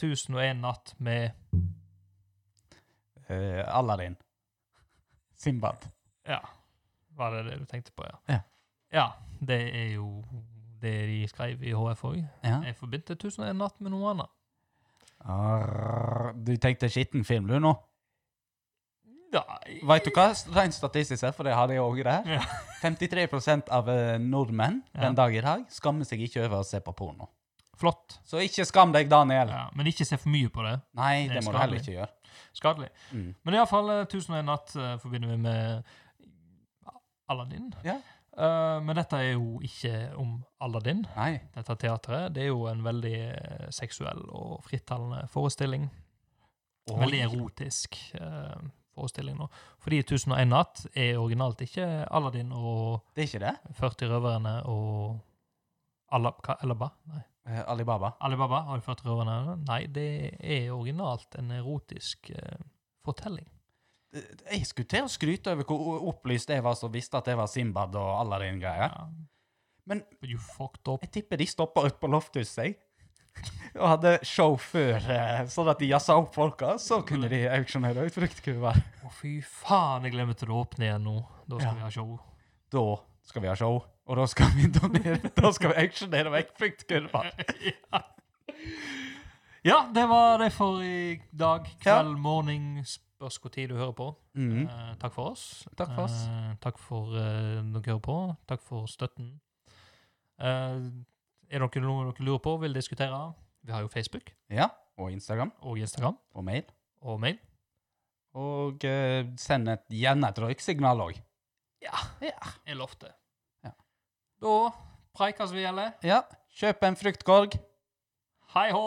Speaker 2: 1001 natt med
Speaker 1: Eh, Aladdin. Simbad.
Speaker 2: Ja, var det det du tenkte på, ja?
Speaker 1: Ja.
Speaker 2: Ja, det er jo det de skrev i HF òg.
Speaker 1: Ja.
Speaker 2: Jeg forbindte 1001 natt med noe annet.
Speaker 1: Arr, Du tenkte skitten film, du, nå?
Speaker 2: Nei
Speaker 1: Vet du hva? Rent statistisk sett, for det hadde jeg òg der.
Speaker 2: Ja.
Speaker 1: [laughs] 53 av eh, nordmenn
Speaker 2: Ja.
Speaker 1: den dag i dag skammer seg ikke over å se på porno.
Speaker 2: Flott.
Speaker 1: Så ikke skam deg, Daniel.
Speaker 2: Ja, men ikke se for mye på det.
Speaker 1: Nei,
Speaker 2: Det
Speaker 1: det
Speaker 2: er
Speaker 1: må du heller
Speaker 2: skadelig.
Speaker 1: ikke gjøre.
Speaker 2: Skadelig.
Speaker 1: Mm.
Speaker 2: Men iallfall 1001 natt eh, forbinder vi med Aladdin.
Speaker 1: Ja.
Speaker 2: Eh, men dette er jo ikke om Aladdin,
Speaker 1: Nei.
Speaker 2: dette teatret. Det er jo en veldig eh, seksuell og frittalende forestilling. Veldig erotisk eh, forestilling nå. Fordi 1001 natt er originalt ikke Aladdin og
Speaker 1: Det er ikke det?
Speaker 2: 40 røverne og Alab hva- Alaba? Nei.
Speaker 1: Eh, Alibaba.
Speaker 2: Alibaba og de 40 røverne? Nei, det er originalt en erotisk eh, fortelling.
Speaker 1: Eh, Jeg skulle til å skryte over hvor o- opplyst jeg var som visste at det var Simbad og Aladdin-greier.
Speaker 2: Ja.
Speaker 1: Men-
Speaker 2: But you fucked up.
Speaker 1: Jeg tipper de stoppa ut på Lofthus, jeg. Og hadde show før, eh, sånn at de jazza opp folka. Så kunne de auksjonere ut fruktkurver.
Speaker 2: Å, fy faen, jeg glemte det å åpne igjen nå. Da skal
Speaker 1: Ja.
Speaker 2: vi ha show.
Speaker 1: Da skal vi ha show, og da skal vi [laughs] donere, da skal vi auksjonere vekk fruktkurver.
Speaker 2: ja. ja, det var det for i dag. Kveld, morgen. Spørs hvor tid du hører på.
Speaker 1: Mm.
Speaker 2: Eh, takk for oss.
Speaker 1: Takk for oss.
Speaker 2: Eh, takk for eh, dere hører på. Takk for støtten. Eh, er det noe dere lurer på, vil diskutere? Vi har jo Facebook
Speaker 1: Ja, og Instagram
Speaker 2: og Instagram
Speaker 1: og mail.
Speaker 2: og mail.
Speaker 1: Og eh, send et, gjerne et røyksignal òg.
Speaker 2: Jeg lovte.
Speaker 1: Ja.
Speaker 2: Da preikas vi, eller?
Speaker 1: Ja, kjøp en fruktkorg.
Speaker 2: Hei hå!